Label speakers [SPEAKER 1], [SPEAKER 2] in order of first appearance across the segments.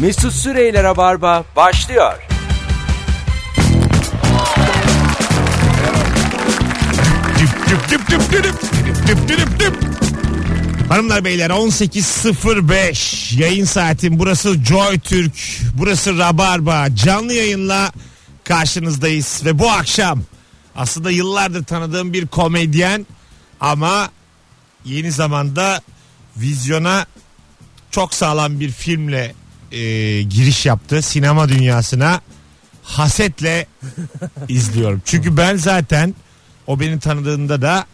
[SPEAKER 1] Mesut Süreyler'e barba başlıyor.
[SPEAKER 2] Düp düp düp düp düp düp düp düp düp düp. Hanımlar beyler 18.05 yayın saatin burası Joy Türk burası Rabarba canlı yayınla karşınızdayız ve bu akşam aslında yıllardır tanıdığım bir komedyen ama yeni zamanda vizyona çok sağlam bir filmle e, giriş yaptı sinema dünyasına hasetle izliyorum. Çünkü ben zaten o beni tanıdığında da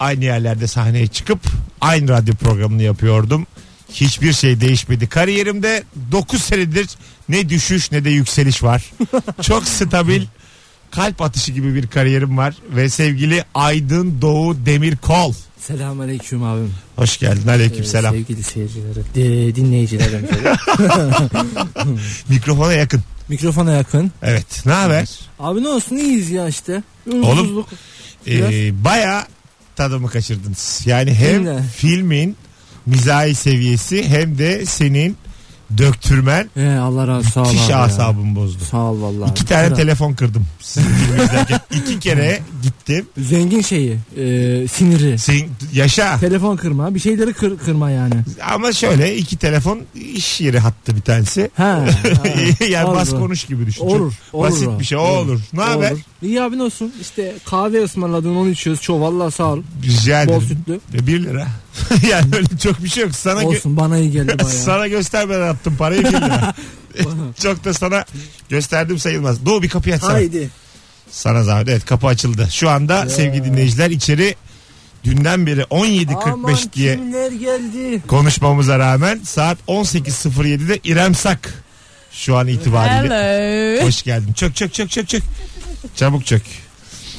[SPEAKER 2] aynı yerlerde sahneye çıkıp aynı radyo programını yapıyordum. Hiçbir şey değişmedi. Kariyerimde 9 senedir ne düşüş ne de yükseliş var. Çok stabil kalp atışı gibi bir kariyerim var ve sevgili Aydın Doğu Demirkol.
[SPEAKER 3] Selamünaleyküm abim.
[SPEAKER 2] Hoş geldin. Aleyküm
[SPEAKER 3] Ee,
[SPEAKER 2] selam.
[SPEAKER 3] Sevgili seyircilerim, de, dinleyicilerim.
[SPEAKER 2] Mikrofona yakın.
[SPEAKER 3] Mikrofona yakın.
[SPEAKER 2] Evet. Ne haber?
[SPEAKER 3] Abi ne olsun iyiyiz ya işte.
[SPEAKER 2] Oğlum, Ee, baya tadımı kaçırdınız. Yani hem
[SPEAKER 3] Değil mi?
[SPEAKER 2] filmin mizahi seviyesi hem de senin döktürmen
[SPEAKER 3] Ee, Allah razı sağ ol
[SPEAKER 2] müthiş
[SPEAKER 3] abi ya.
[SPEAKER 2] asabımı bozdu.
[SPEAKER 3] Sağ ol vallahi.
[SPEAKER 2] İki tane
[SPEAKER 3] Kral.
[SPEAKER 2] telefon kırdım. Sizin filmi izlerken. İki kere gittim.
[SPEAKER 3] Zengin şeyi, e, siniri.
[SPEAKER 2] Sen, yaşa.
[SPEAKER 3] Telefon kırma, bir şeyleri kır, kırma yani.
[SPEAKER 2] Ama şöyle iki telefon iş yeri hattı bir tanesi.
[SPEAKER 3] Ha.
[SPEAKER 2] yani
[SPEAKER 3] Olur.
[SPEAKER 2] bas konuş gibi düşün. Çok
[SPEAKER 3] Olur, olur
[SPEAKER 2] basit
[SPEAKER 3] abi.
[SPEAKER 2] bir şey. O olur. Ne haber?
[SPEAKER 3] Olur. İyi abi ne olsun? İşte kahve ısmarladın onu içiyoruz. Çok vallahi sağ ol.
[SPEAKER 2] Rica
[SPEAKER 3] Bol
[SPEAKER 2] ederim.
[SPEAKER 3] sütlü.
[SPEAKER 2] E, Bir lira. yani öyle çok bir şey yok. Sana gö-
[SPEAKER 3] Olsun bana iyi geldi bayağı.
[SPEAKER 2] Sana göstermeden attım parayı bir lira. Çok da sana gösterdim sayılmaz. Doğu bir kapıyı açsana.
[SPEAKER 3] Haydi.
[SPEAKER 2] Sana zahmet. Evet kapı açıldı. Şu anda sevgili dinleyiciler içeri dünden beri 17.45
[SPEAKER 3] Aman
[SPEAKER 2] diye
[SPEAKER 3] kimler geldi.
[SPEAKER 2] konuşmamıza rağmen saat 18.07'de İrem Sak şu an itibariyle.
[SPEAKER 4] Hello.
[SPEAKER 2] Hoş geldin. Çök çök çök çök çök. Çabuk çök.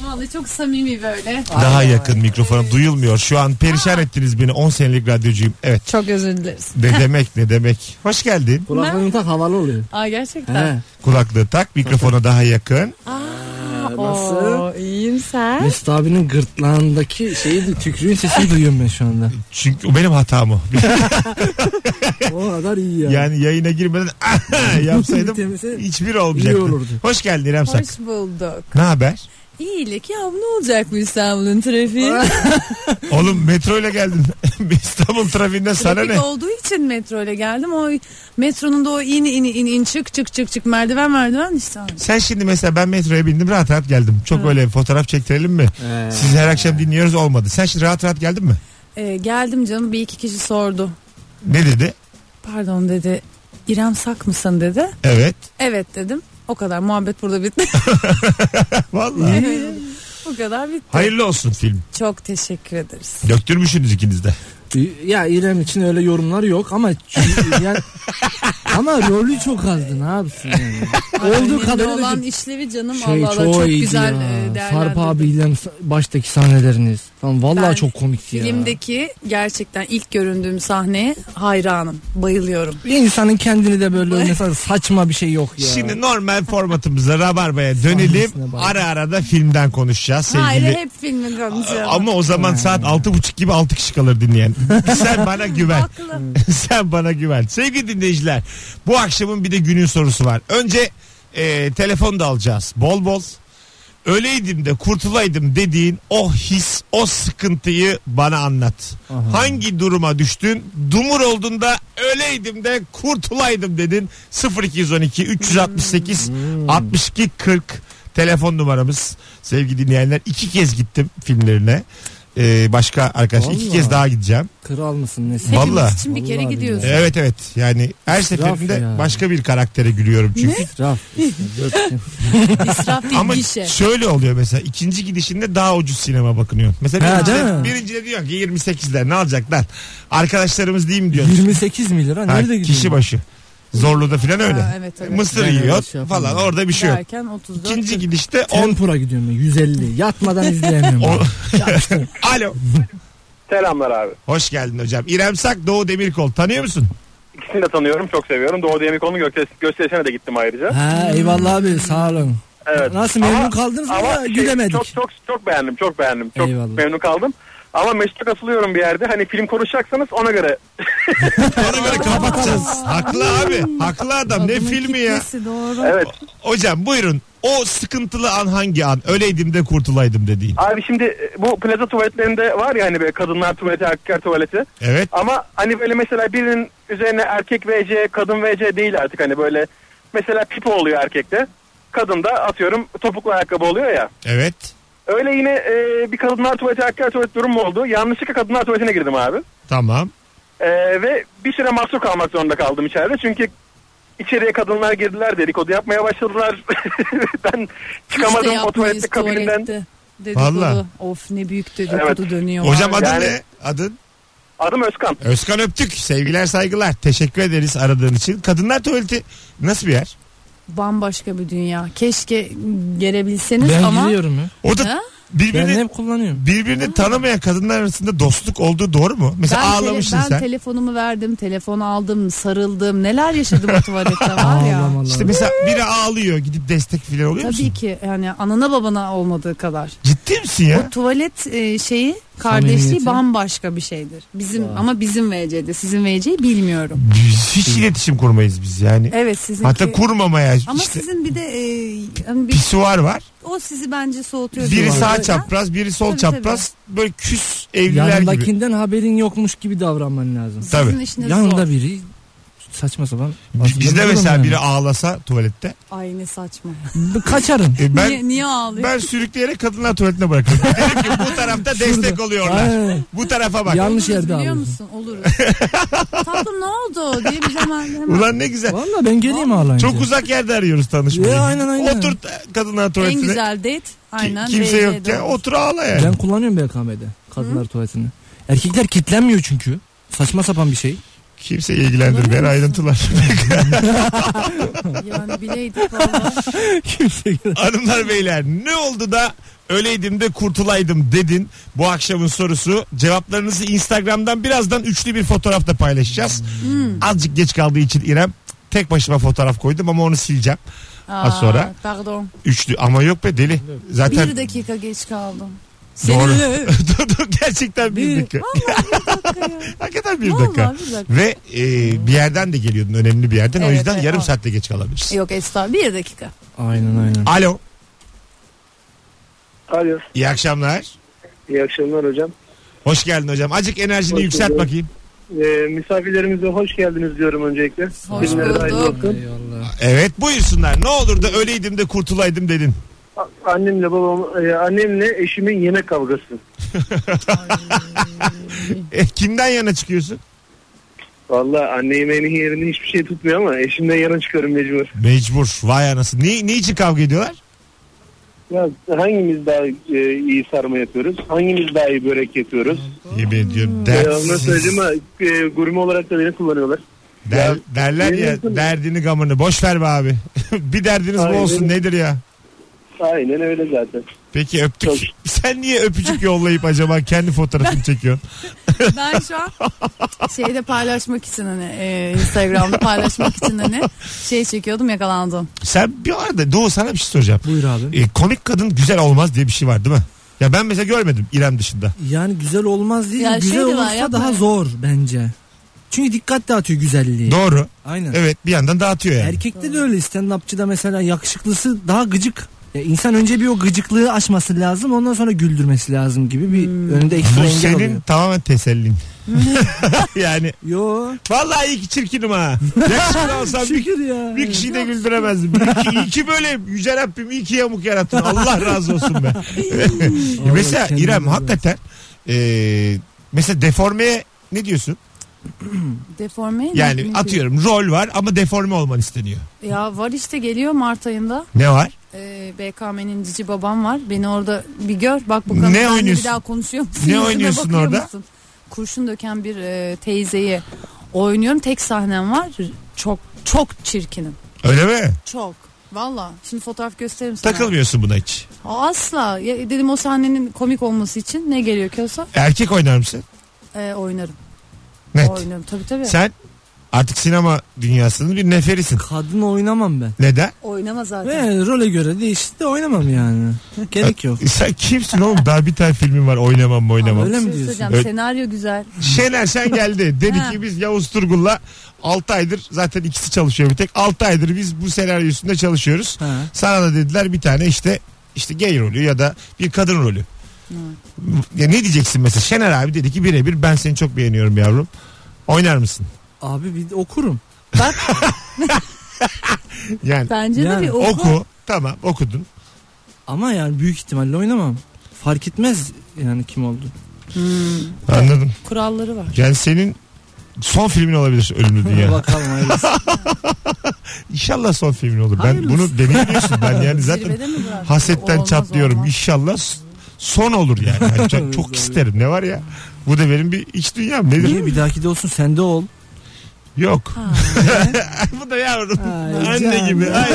[SPEAKER 4] Vallahi çok samimi böyle.
[SPEAKER 2] Daha yakın mikrofona duyulmuyor. Şu an perişan ettiniz beni 10 senelik radyocuyum. Evet.
[SPEAKER 4] Çok özür dileriz.
[SPEAKER 2] Ne demek ne demek. Hoş geldin.
[SPEAKER 3] Kulaklarını tak havalı oluyor.
[SPEAKER 4] Aa gerçekten.
[SPEAKER 3] He.
[SPEAKER 2] Kulaklığı tak mikrofona daha yakın.
[SPEAKER 4] Oo, iyiyim sen.
[SPEAKER 3] Mesut abinin gırtlağındaki şeyi de tükürüğün sesini duyuyorum ben şu anda.
[SPEAKER 2] Çünkü o benim hatam o.
[SPEAKER 3] O kadar iyi yani.
[SPEAKER 2] Yani yayına girmeden yapsaydım
[SPEAKER 3] Temizse
[SPEAKER 2] hiçbir olmayacaktı.
[SPEAKER 3] iyi olurdu.
[SPEAKER 2] Hoş geldin İrem Sak.
[SPEAKER 4] Hoş bulduk.
[SPEAKER 2] Ne haber?
[SPEAKER 4] İyilik ya ne olacak bu İstanbul'un trafiği?
[SPEAKER 2] Oğlum metroyla geldin. İstanbul trafiğinden sana
[SPEAKER 4] Trafik
[SPEAKER 2] ne?
[SPEAKER 4] olduğu için metro ile geldim. O metronun da o in in in in çık çık çık çık merdiven merdiven işte.
[SPEAKER 2] Sen şimdi mesela ben metroya bindim rahat rahat geldim. Çok öyle fotoğraf çektirelim mi?
[SPEAKER 3] Ee,
[SPEAKER 2] Siz her akşam dinliyoruz olmadı. Sen şimdi rahat rahat geldin mi?
[SPEAKER 4] Ee, geldim canım bir iki kişi sordu.
[SPEAKER 2] Ne dedi?
[SPEAKER 4] Pardon dedi. İrem Sak mısın dedi.
[SPEAKER 2] Evet.
[SPEAKER 4] Evet dedim. O kadar muhabbet burada bitti.
[SPEAKER 2] Vallahi.
[SPEAKER 4] Bu kadar bitti.
[SPEAKER 2] Hayırlı olsun film.
[SPEAKER 4] Çok teşekkür ederiz.
[SPEAKER 2] Döktürmüşsünüz ikiniz de.
[SPEAKER 3] Ee, ya İrem için öyle yorumlar yok ama ç- yani, ama rolü çok azdı ne yapsın yani. Olduğu
[SPEAKER 4] Önemli
[SPEAKER 3] kadarıyla
[SPEAKER 4] olan
[SPEAKER 3] da-
[SPEAKER 4] işlevi canım
[SPEAKER 3] şey
[SPEAKER 4] Allah Allah çok
[SPEAKER 3] iyiydi
[SPEAKER 4] güzel e,
[SPEAKER 3] ya. Sarp
[SPEAKER 4] değerlendirdi.
[SPEAKER 3] abiyle sa- baştaki sahneleriniz. Tamam vallahi
[SPEAKER 4] Ben
[SPEAKER 3] çok komikti ya.
[SPEAKER 4] Filmdeki gerçekten ilk göründüğüm sahneye hayranım. Bayılıyorum.
[SPEAKER 3] Bir insanın kendini de böyle mesela saçma bir şey yok ya.
[SPEAKER 2] Şimdi normal formatımıza Rabarba'ya dönelim.
[SPEAKER 3] Sahnesine bak.
[SPEAKER 2] Ara ara da filmden konuşacağız sevgili.
[SPEAKER 4] Hayır hep filmin konuşuyorum.
[SPEAKER 2] Ama o zaman saat altı buçuk gibi altı kişi kalır dinleyen. Sen bana güven.
[SPEAKER 4] Haklı.
[SPEAKER 3] Hmm.
[SPEAKER 2] Sen bana güven. Sevgili dinleyiciler bu akşamın bir de günün sorusu var. Önce e, telefon da alacağız bol bol. Öleydim de kurtulaydım dediğin o his o sıkıntıyı bana anlat.
[SPEAKER 3] Aha.
[SPEAKER 2] Hangi duruma düştün? Dumur oldun da öleydim de kurtulaydım dedin. 0212 368
[SPEAKER 3] Hmm.
[SPEAKER 2] 62 40 telefon numaramız. Sevgili dinleyenler iki kez gittim filmlerine. Ee, başka arkadaşlar iki
[SPEAKER 3] Vallahi.
[SPEAKER 2] kez daha gideceğim.
[SPEAKER 3] Kral mısın nesin?
[SPEAKER 2] Hep- Vallahi.
[SPEAKER 4] Hepimiz için bir kere
[SPEAKER 3] Vallahi
[SPEAKER 4] gidiyoruz.
[SPEAKER 3] billahi.
[SPEAKER 2] Evet evet yani her seferinde
[SPEAKER 3] ya.
[SPEAKER 2] başka bir karaktere gülüyorum çünkü.
[SPEAKER 3] Raf.
[SPEAKER 4] İsraf değil
[SPEAKER 2] Ama şey
[SPEAKER 4] gişe.
[SPEAKER 2] şöyle oluyor mesela ikinci gidişinde daha ucuz sinema bakınıyor. Mesela
[SPEAKER 3] Ha,
[SPEAKER 2] birincide,
[SPEAKER 3] değil mi?
[SPEAKER 2] birincide diyor ki 28'ler ne alacaklar? Arkadaşlarımız değil mi diyor.
[SPEAKER 3] 28 mi lira?
[SPEAKER 2] Ha,
[SPEAKER 3] Nerede gidiyorsun?
[SPEAKER 2] kişi başı. Zorlu'da falan öyle.
[SPEAKER 4] Ha, evet, evet.
[SPEAKER 2] Mısır
[SPEAKER 3] Ben öyle
[SPEAKER 2] yiyor
[SPEAKER 3] şey yapamam.
[SPEAKER 2] falan orada bir şey yok.
[SPEAKER 4] Derken 34.
[SPEAKER 2] İkinci gidişte 10
[SPEAKER 3] Tempura gidiyorum ben 150. Yatmadan izleyemiyorum.
[SPEAKER 2] O-
[SPEAKER 3] ben.
[SPEAKER 2] Alo.
[SPEAKER 5] Selamlar abi.
[SPEAKER 2] Hoş geldin hocam. İrem Sak, Doğu Demirkol. Tanıyor musun?
[SPEAKER 5] İkisini de tanıyorum. Çok seviyorum. Doğu Demirkol'un gökte- gösterisine de gittim ayrıca.
[SPEAKER 3] ha eyvallah abi sağ olun.
[SPEAKER 5] Evet.
[SPEAKER 3] Nasıl
[SPEAKER 5] Ama-
[SPEAKER 3] memnun kaldınız mı?
[SPEAKER 5] ama
[SPEAKER 3] Ya,
[SPEAKER 5] şey,
[SPEAKER 3] Gülemedik.
[SPEAKER 5] Çok, çok, çok beğendim. Çok beğendim. Çok
[SPEAKER 3] Eyvallah.
[SPEAKER 5] memnun kaldım. Ama meşte katılıyorum bir yerde. Hani film konuşacaksanız ona göre.
[SPEAKER 2] Ona göre kapatacağız. Haklı abi. Haklı adam. Ne
[SPEAKER 4] Adamın
[SPEAKER 2] filmi ya?
[SPEAKER 4] kitlesi, Doğru.
[SPEAKER 5] Evet.
[SPEAKER 2] Hocam buyurun. O sıkıntılı an hangi an? Öleydim de kurtulaydım dediğin.
[SPEAKER 5] Abi şimdi e, bu plaza tuvaletlerinde var ya hani böyle kadınlar tuvaleti, erkekler tuvaleti.
[SPEAKER 2] Evet.
[SPEAKER 5] Ama hani böyle mesela birinin üzerine erkek VC, kadın VC değil artık hani böyle. Mesela pipo oluyor erkekte. Kadında atıyorum topuklu ayakkabı oluyor ya.
[SPEAKER 2] Evet.
[SPEAKER 5] Öyle yine e, bir kadınlar tuvaleti, erkekler tuvaleti durumu oldu. Yanlışlıkla kadınlar tuvaletine girdim abi.
[SPEAKER 2] Tamam.
[SPEAKER 5] Ee, ve bir süre mahsur kalmak zorunda kaldım içeride. Çünkü içeriye kadınlar girdiler dedikodu yapmaya başladılar. ben çıkamadım
[SPEAKER 4] Hiç de
[SPEAKER 5] o tuvalette
[SPEAKER 4] yapmayız
[SPEAKER 5] kabininden.
[SPEAKER 4] tuvalette. Dedikodu.
[SPEAKER 2] Vallahi.
[SPEAKER 4] Of ne büyük dedikodu
[SPEAKER 5] Evet.
[SPEAKER 4] dönüyor.
[SPEAKER 2] Hocam adın
[SPEAKER 5] Yani-
[SPEAKER 2] ne? Adın?
[SPEAKER 5] Adım Özkan.
[SPEAKER 2] Özkan Öptük. Sevgiler saygılar. Teşekkür ederiz aradığın için. Kadınlar tuvaleti nasıl bir yer?
[SPEAKER 4] Bambaşka bir dünya. Keşke gelebilseniz
[SPEAKER 3] ben
[SPEAKER 4] ama.
[SPEAKER 3] giriyorum ya.
[SPEAKER 2] Orada
[SPEAKER 4] Ha?
[SPEAKER 3] Ben
[SPEAKER 2] birbirini
[SPEAKER 3] hep kullanıyorum.
[SPEAKER 2] birbirini tanımayan kadınlar arasında dostluk olduğu doğru mu? Mesela
[SPEAKER 4] Ben, tele-
[SPEAKER 2] ağlamışsın
[SPEAKER 4] ben
[SPEAKER 2] sen.
[SPEAKER 4] telefonumu verdim, telefon aldım, sarıldım. Neler yaşadım o tuvalette var ya.
[SPEAKER 3] Allah'ım
[SPEAKER 2] İşte
[SPEAKER 3] Allah'ım.
[SPEAKER 2] mesela biri ağlıyor gidip destek filan oluyor musun?
[SPEAKER 4] Tabii ki yani anana babana olmadığı kadar.
[SPEAKER 2] Ciddi misin ya?
[SPEAKER 4] O tuvalet e, şeyi kardeşliği
[SPEAKER 3] Samimiyeti.
[SPEAKER 4] bambaşka bir şeydir. Bizim ama bizim VC'de sizin VC'yi bilmiyorum.
[SPEAKER 2] Biz hiç iletişim kurmayız biz yani.
[SPEAKER 4] Evet sizin.
[SPEAKER 2] Hatta kurmamaya
[SPEAKER 4] ama
[SPEAKER 2] işte
[SPEAKER 4] sizin bir de e, hani bir,
[SPEAKER 2] pisuar var.
[SPEAKER 4] o sizi bence soğutuyor.
[SPEAKER 2] Biri
[SPEAKER 4] Tuvalet.
[SPEAKER 2] sağ çapraz, biri sol
[SPEAKER 4] Tabii,
[SPEAKER 2] çapraz. Böyle küs evliler gibi.
[SPEAKER 3] Yanındakinden haberin yokmuş gibi davranman lazım.
[SPEAKER 2] Tabii.
[SPEAKER 4] Sizin işiniz
[SPEAKER 3] Yanında
[SPEAKER 4] zor.
[SPEAKER 3] biri saçma sapan.
[SPEAKER 2] Bi- Bizde
[SPEAKER 3] aslında
[SPEAKER 2] mesela
[SPEAKER 3] yani.
[SPEAKER 2] biri ağlasa tuvalette.
[SPEAKER 4] Ay ne saçma.
[SPEAKER 3] B- kaçarım.
[SPEAKER 2] E ben
[SPEAKER 4] niye, niye ağlıyor?
[SPEAKER 2] ben sürükleyerek kadınlar tuvaletine bırakırım. Derim ki bu tarafta destek oluyorlar.
[SPEAKER 3] Ay,
[SPEAKER 2] Bu tarafa bak.
[SPEAKER 3] Ya- yanlış
[SPEAKER 4] Oluruz
[SPEAKER 3] yerde
[SPEAKER 4] biliyor
[SPEAKER 3] ağlıyorsun.
[SPEAKER 4] musun? Oluruz. Tatlım ne oldu diye biz hemen, hemen
[SPEAKER 2] Ulan ne güzel.
[SPEAKER 3] Valla ben geleyim ağlayınca.
[SPEAKER 2] Çok uzak yerde arıyoruz tanışmayı.
[SPEAKER 3] Ya, aynen, aynen.
[SPEAKER 2] Otur t- kadınlar
[SPEAKER 4] en
[SPEAKER 2] tuvaletine.
[SPEAKER 4] güzel date
[SPEAKER 2] Ki-
[SPEAKER 4] aynen
[SPEAKER 2] Kimse
[SPEAKER 4] VC'de
[SPEAKER 2] yokken
[SPEAKER 4] olur.
[SPEAKER 2] otur ağla yani.
[SPEAKER 3] Ben kullanıyorum BKM'de kadınlar tuvaletini. Erkekler kitlenmiyor çünkü. Saçma sapan bir şey.
[SPEAKER 2] Kimse ilgilendirmeyen
[SPEAKER 4] Kullanıyor
[SPEAKER 2] ayrıntılar.
[SPEAKER 4] Yani bileydik valla.
[SPEAKER 3] Kimse
[SPEAKER 2] Hanımlar beyler ne oldu da öleydim de kurtulaydım dedin. Bu akşamın sorusu cevaplarınızı Instagram'dan birazdan üçlü bir fotoğrafta paylaşacağız.
[SPEAKER 4] Hmm.
[SPEAKER 2] Azıcık geç kaldığı için İrem tek başıma fotoğraf koydum ama onu sileceğim. Az sonra.
[SPEAKER 4] Pardon.
[SPEAKER 2] Üçlü ama yok be deli. Zaten
[SPEAKER 4] Bir dakika geç kaldım.
[SPEAKER 2] doğru.
[SPEAKER 4] Seninle-
[SPEAKER 2] dur dur gerçekten bir
[SPEAKER 4] Bir-
[SPEAKER 2] dakika. Hakikaten bir
[SPEAKER 4] Vallahi
[SPEAKER 2] dakika.
[SPEAKER 4] bir dakika.
[SPEAKER 2] Ve e, bir yerden de geliyordun önemli bir yerden. o
[SPEAKER 4] Evet,
[SPEAKER 2] yüzden
[SPEAKER 4] evet,
[SPEAKER 2] yarım
[SPEAKER 4] abi.
[SPEAKER 2] saatte geç kalabiliriz.
[SPEAKER 4] Yok estağfurullah bir dakika.
[SPEAKER 3] Aynen aynen.
[SPEAKER 2] Alo.
[SPEAKER 6] Alo.
[SPEAKER 2] iyi akşamlar.
[SPEAKER 6] iyi akşamlar hocam.
[SPEAKER 2] Hoş geldin hocam. Acık enerjini
[SPEAKER 6] Hoş
[SPEAKER 2] yükselt
[SPEAKER 6] bulduk.
[SPEAKER 2] bakayım.
[SPEAKER 6] Ee, misafirlerimize hoş geldiniz diyorum öncelikle.
[SPEAKER 4] Hoş
[SPEAKER 6] Günleri de hayırlı
[SPEAKER 4] bulduk.
[SPEAKER 6] olsun.
[SPEAKER 3] Eyvallah.
[SPEAKER 2] Evet buyursunlar. Ne olur da öleydim de kurtulaydım dedin.
[SPEAKER 6] A- Annemle babam, e, annemle eşimin yemek kavgası.
[SPEAKER 2] E, kimden yana çıkıyorsun?
[SPEAKER 6] Valla anne yemeğinin yerini hiçbir şey tutmuyor ama eşimden yana çıkarım mecbur.
[SPEAKER 2] Mecbur. Vay anası. Ne, ne için kavga ediyorlar?
[SPEAKER 6] Ya hangimiz daha e, iyi sarma yapıyoruz? Hangimiz daha iyi börek yapıyoruz?
[SPEAKER 2] Yemin ediyorum.
[SPEAKER 6] Ee,
[SPEAKER 2] Dert,
[SPEAKER 6] ona söyleyeyim ama e, gurme olarak da beni kullanıyorlar.
[SPEAKER 2] der,
[SPEAKER 6] Ya,
[SPEAKER 2] derler
[SPEAKER 6] yemin
[SPEAKER 2] ya
[SPEAKER 6] ediyorum.
[SPEAKER 2] derdini gamını. Boş ver be abi. bir derdiniz bu
[SPEAKER 6] Aynen.
[SPEAKER 2] olsun nedir ya?
[SPEAKER 6] Aynen öyle zaten.
[SPEAKER 2] Peki öptük.
[SPEAKER 6] Çok.
[SPEAKER 2] Sen niye öpücük yollayıp acaba kendi fotoğrafını çekiyorsun?
[SPEAKER 4] Ben şu an şeyde paylaşmak için hani e, Instagram'da paylaşmak için hani şey çekiyordum yakalandım.
[SPEAKER 2] Sen bir arada Doğu sana bir şey soracağım.
[SPEAKER 3] Buyur abi.
[SPEAKER 2] E, komik kadın güzel olmaz diye bir şey var değil mi? Ya ben mesela görmedim İrem dışında.
[SPEAKER 3] Yani güzel olmaz değil.
[SPEAKER 4] Ya
[SPEAKER 3] güzel
[SPEAKER 4] şey de var,
[SPEAKER 3] olursa
[SPEAKER 4] yapma.
[SPEAKER 3] daha zor bence. Çünkü dikkat dağıtıyor güzelliği.
[SPEAKER 2] Doğru.
[SPEAKER 3] Aynen.
[SPEAKER 2] Evet bir yandan dağıtıyor yani.
[SPEAKER 3] Erkekte de öyle stand upçıda mesela yakışıklısı daha gıcık. Ya insan önce bir o gıcıklığı aşması lazım ondan sonra güldürmesi lazım gibi bir
[SPEAKER 4] Hmm.
[SPEAKER 3] önünde ekstra
[SPEAKER 2] Bu
[SPEAKER 3] engel
[SPEAKER 2] senin
[SPEAKER 3] oluyor.
[SPEAKER 2] tamamen tesellin. yani
[SPEAKER 3] Yo.
[SPEAKER 2] Vallahi iyi ki çirkinim ha. Yakışıklı olsam bir,
[SPEAKER 3] Şükür ya.
[SPEAKER 2] bir kişiyi de güldüremezdim. İyi ki, iyi ki böyle yüce Rabbim iyi ki yamuk yarattın. Allah razı olsun be. E
[SPEAKER 3] Vallahi
[SPEAKER 2] mesela
[SPEAKER 3] kendine
[SPEAKER 2] İrem
[SPEAKER 3] bak.
[SPEAKER 2] hakikaten e, mesela deformeye ne diyorsun?
[SPEAKER 4] Deforme ne- ne
[SPEAKER 2] Yani
[SPEAKER 4] diyor?
[SPEAKER 2] atıyorum rol var ama deforme olman isteniyor.
[SPEAKER 4] Ya var işte geliyor Mart ayında.
[SPEAKER 2] Ne var?
[SPEAKER 4] E, BKM'nin cici babam var. Beni orada bir gör. Bak bakalım
[SPEAKER 2] Ne
[SPEAKER 4] benle
[SPEAKER 2] oynuyorsun?
[SPEAKER 4] bir daha konuşuyor musun?
[SPEAKER 2] Ne
[SPEAKER 4] Yüzüme
[SPEAKER 2] oynuyorsun
[SPEAKER 4] bakıyor
[SPEAKER 2] orada?
[SPEAKER 4] musun? Kurşun döken bir e, teyzeyi oynuyorum. Tek sahnem var. Çok çok çirkinim.
[SPEAKER 2] Öyle mi?
[SPEAKER 4] Çok. Valla. Şimdi fotoğraf gösteririm sana.
[SPEAKER 2] Takılmıyorsun buna hiç.
[SPEAKER 4] Asla. Ya dedim o sahnenin komik olması için ne gerekiyorsa
[SPEAKER 2] Erkek oynar mısın?
[SPEAKER 4] e, oynarım.
[SPEAKER 2] Net.
[SPEAKER 4] Oynarım tabii tabii.
[SPEAKER 2] Sen Artık sinema dünyasının bir neferisin.
[SPEAKER 3] Kadın oynamam ben.
[SPEAKER 2] Neden?
[SPEAKER 4] Oynama zaten.
[SPEAKER 3] Ve role göre değişti de oynamam yani. Gerek yok.
[SPEAKER 2] Sen kimsin oğlum? Daha bir tane filmim var oynamam mı oynamam.
[SPEAKER 3] Öyle mi
[SPEAKER 4] Bir şey
[SPEAKER 3] diyorsun?
[SPEAKER 4] söyleyeceğim.
[SPEAKER 2] Ö-
[SPEAKER 4] Senaryo güzel.
[SPEAKER 2] Şener Şen geldi. Dedi
[SPEAKER 4] Ha.
[SPEAKER 2] ki biz Yavuz Turgul'la 6 aydır zaten ikisi çalışıyor bir tek. 6 aydır biz bu senaryo üstünde çalışıyoruz.
[SPEAKER 3] Ha.
[SPEAKER 2] Sana da dediler bir tane işte işte gay rolü ya da bir kadın rolü. Ya ne diyeceksin mesela? Şener abi dedi ki birebir ben seni çok beğeniyorum yavrum. Oynar mısın?
[SPEAKER 3] Abi bir okurum.
[SPEAKER 2] Yani
[SPEAKER 4] Bence de
[SPEAKER 3] Yani
[SPEAKER 4] bir oku.
[SPEAKER 2] oku. Tamam okudun.
[SPEAKER 3] Ama yani büyük ihtimalle oynamam. Fark etmez yani kim oldu.
[SPEAKER 2] Anladım.
[SPEAKER 4] Kuralları var.
[SPEAKER 2] Yani senin son filmin olabilir ölümlü dünya.
[SPEAKER 3] Bakalım hayırlısı.
[SPEAKER 2] İnşallah son filmin olur. Ben
[SPEAKER 3] Hayırlısı.
[SPEAKER 2] bunu deneyimliyorsun ben yani zaten
[SPEAKER 4] Zirvede mi bırak?
[SPEAKER 2] hasetten
[SPEAKER 4] Olmaz,
[SPEAKER 2] çatlıyorum.
[SPEAKER 4] olmaz.
[SPEAKER 2] İnşallah s- son olur yani. Yani çok, çok isterim. Ne var ya? Bu da benim bir iç dünyam nedir?
[SPEAKER 3] Niye bir dahaki de olsun sende ol.
[SPEAKER 2] Yok.
[SPEAKER 4] Ha.
[SPEAKER 2] Bu da yavrum.
[SPEAKER 3] Ay
[SPEAKER 2] Anne
[SPEAKER 3] canım.
[SPEAKER 2] gibi. Ay,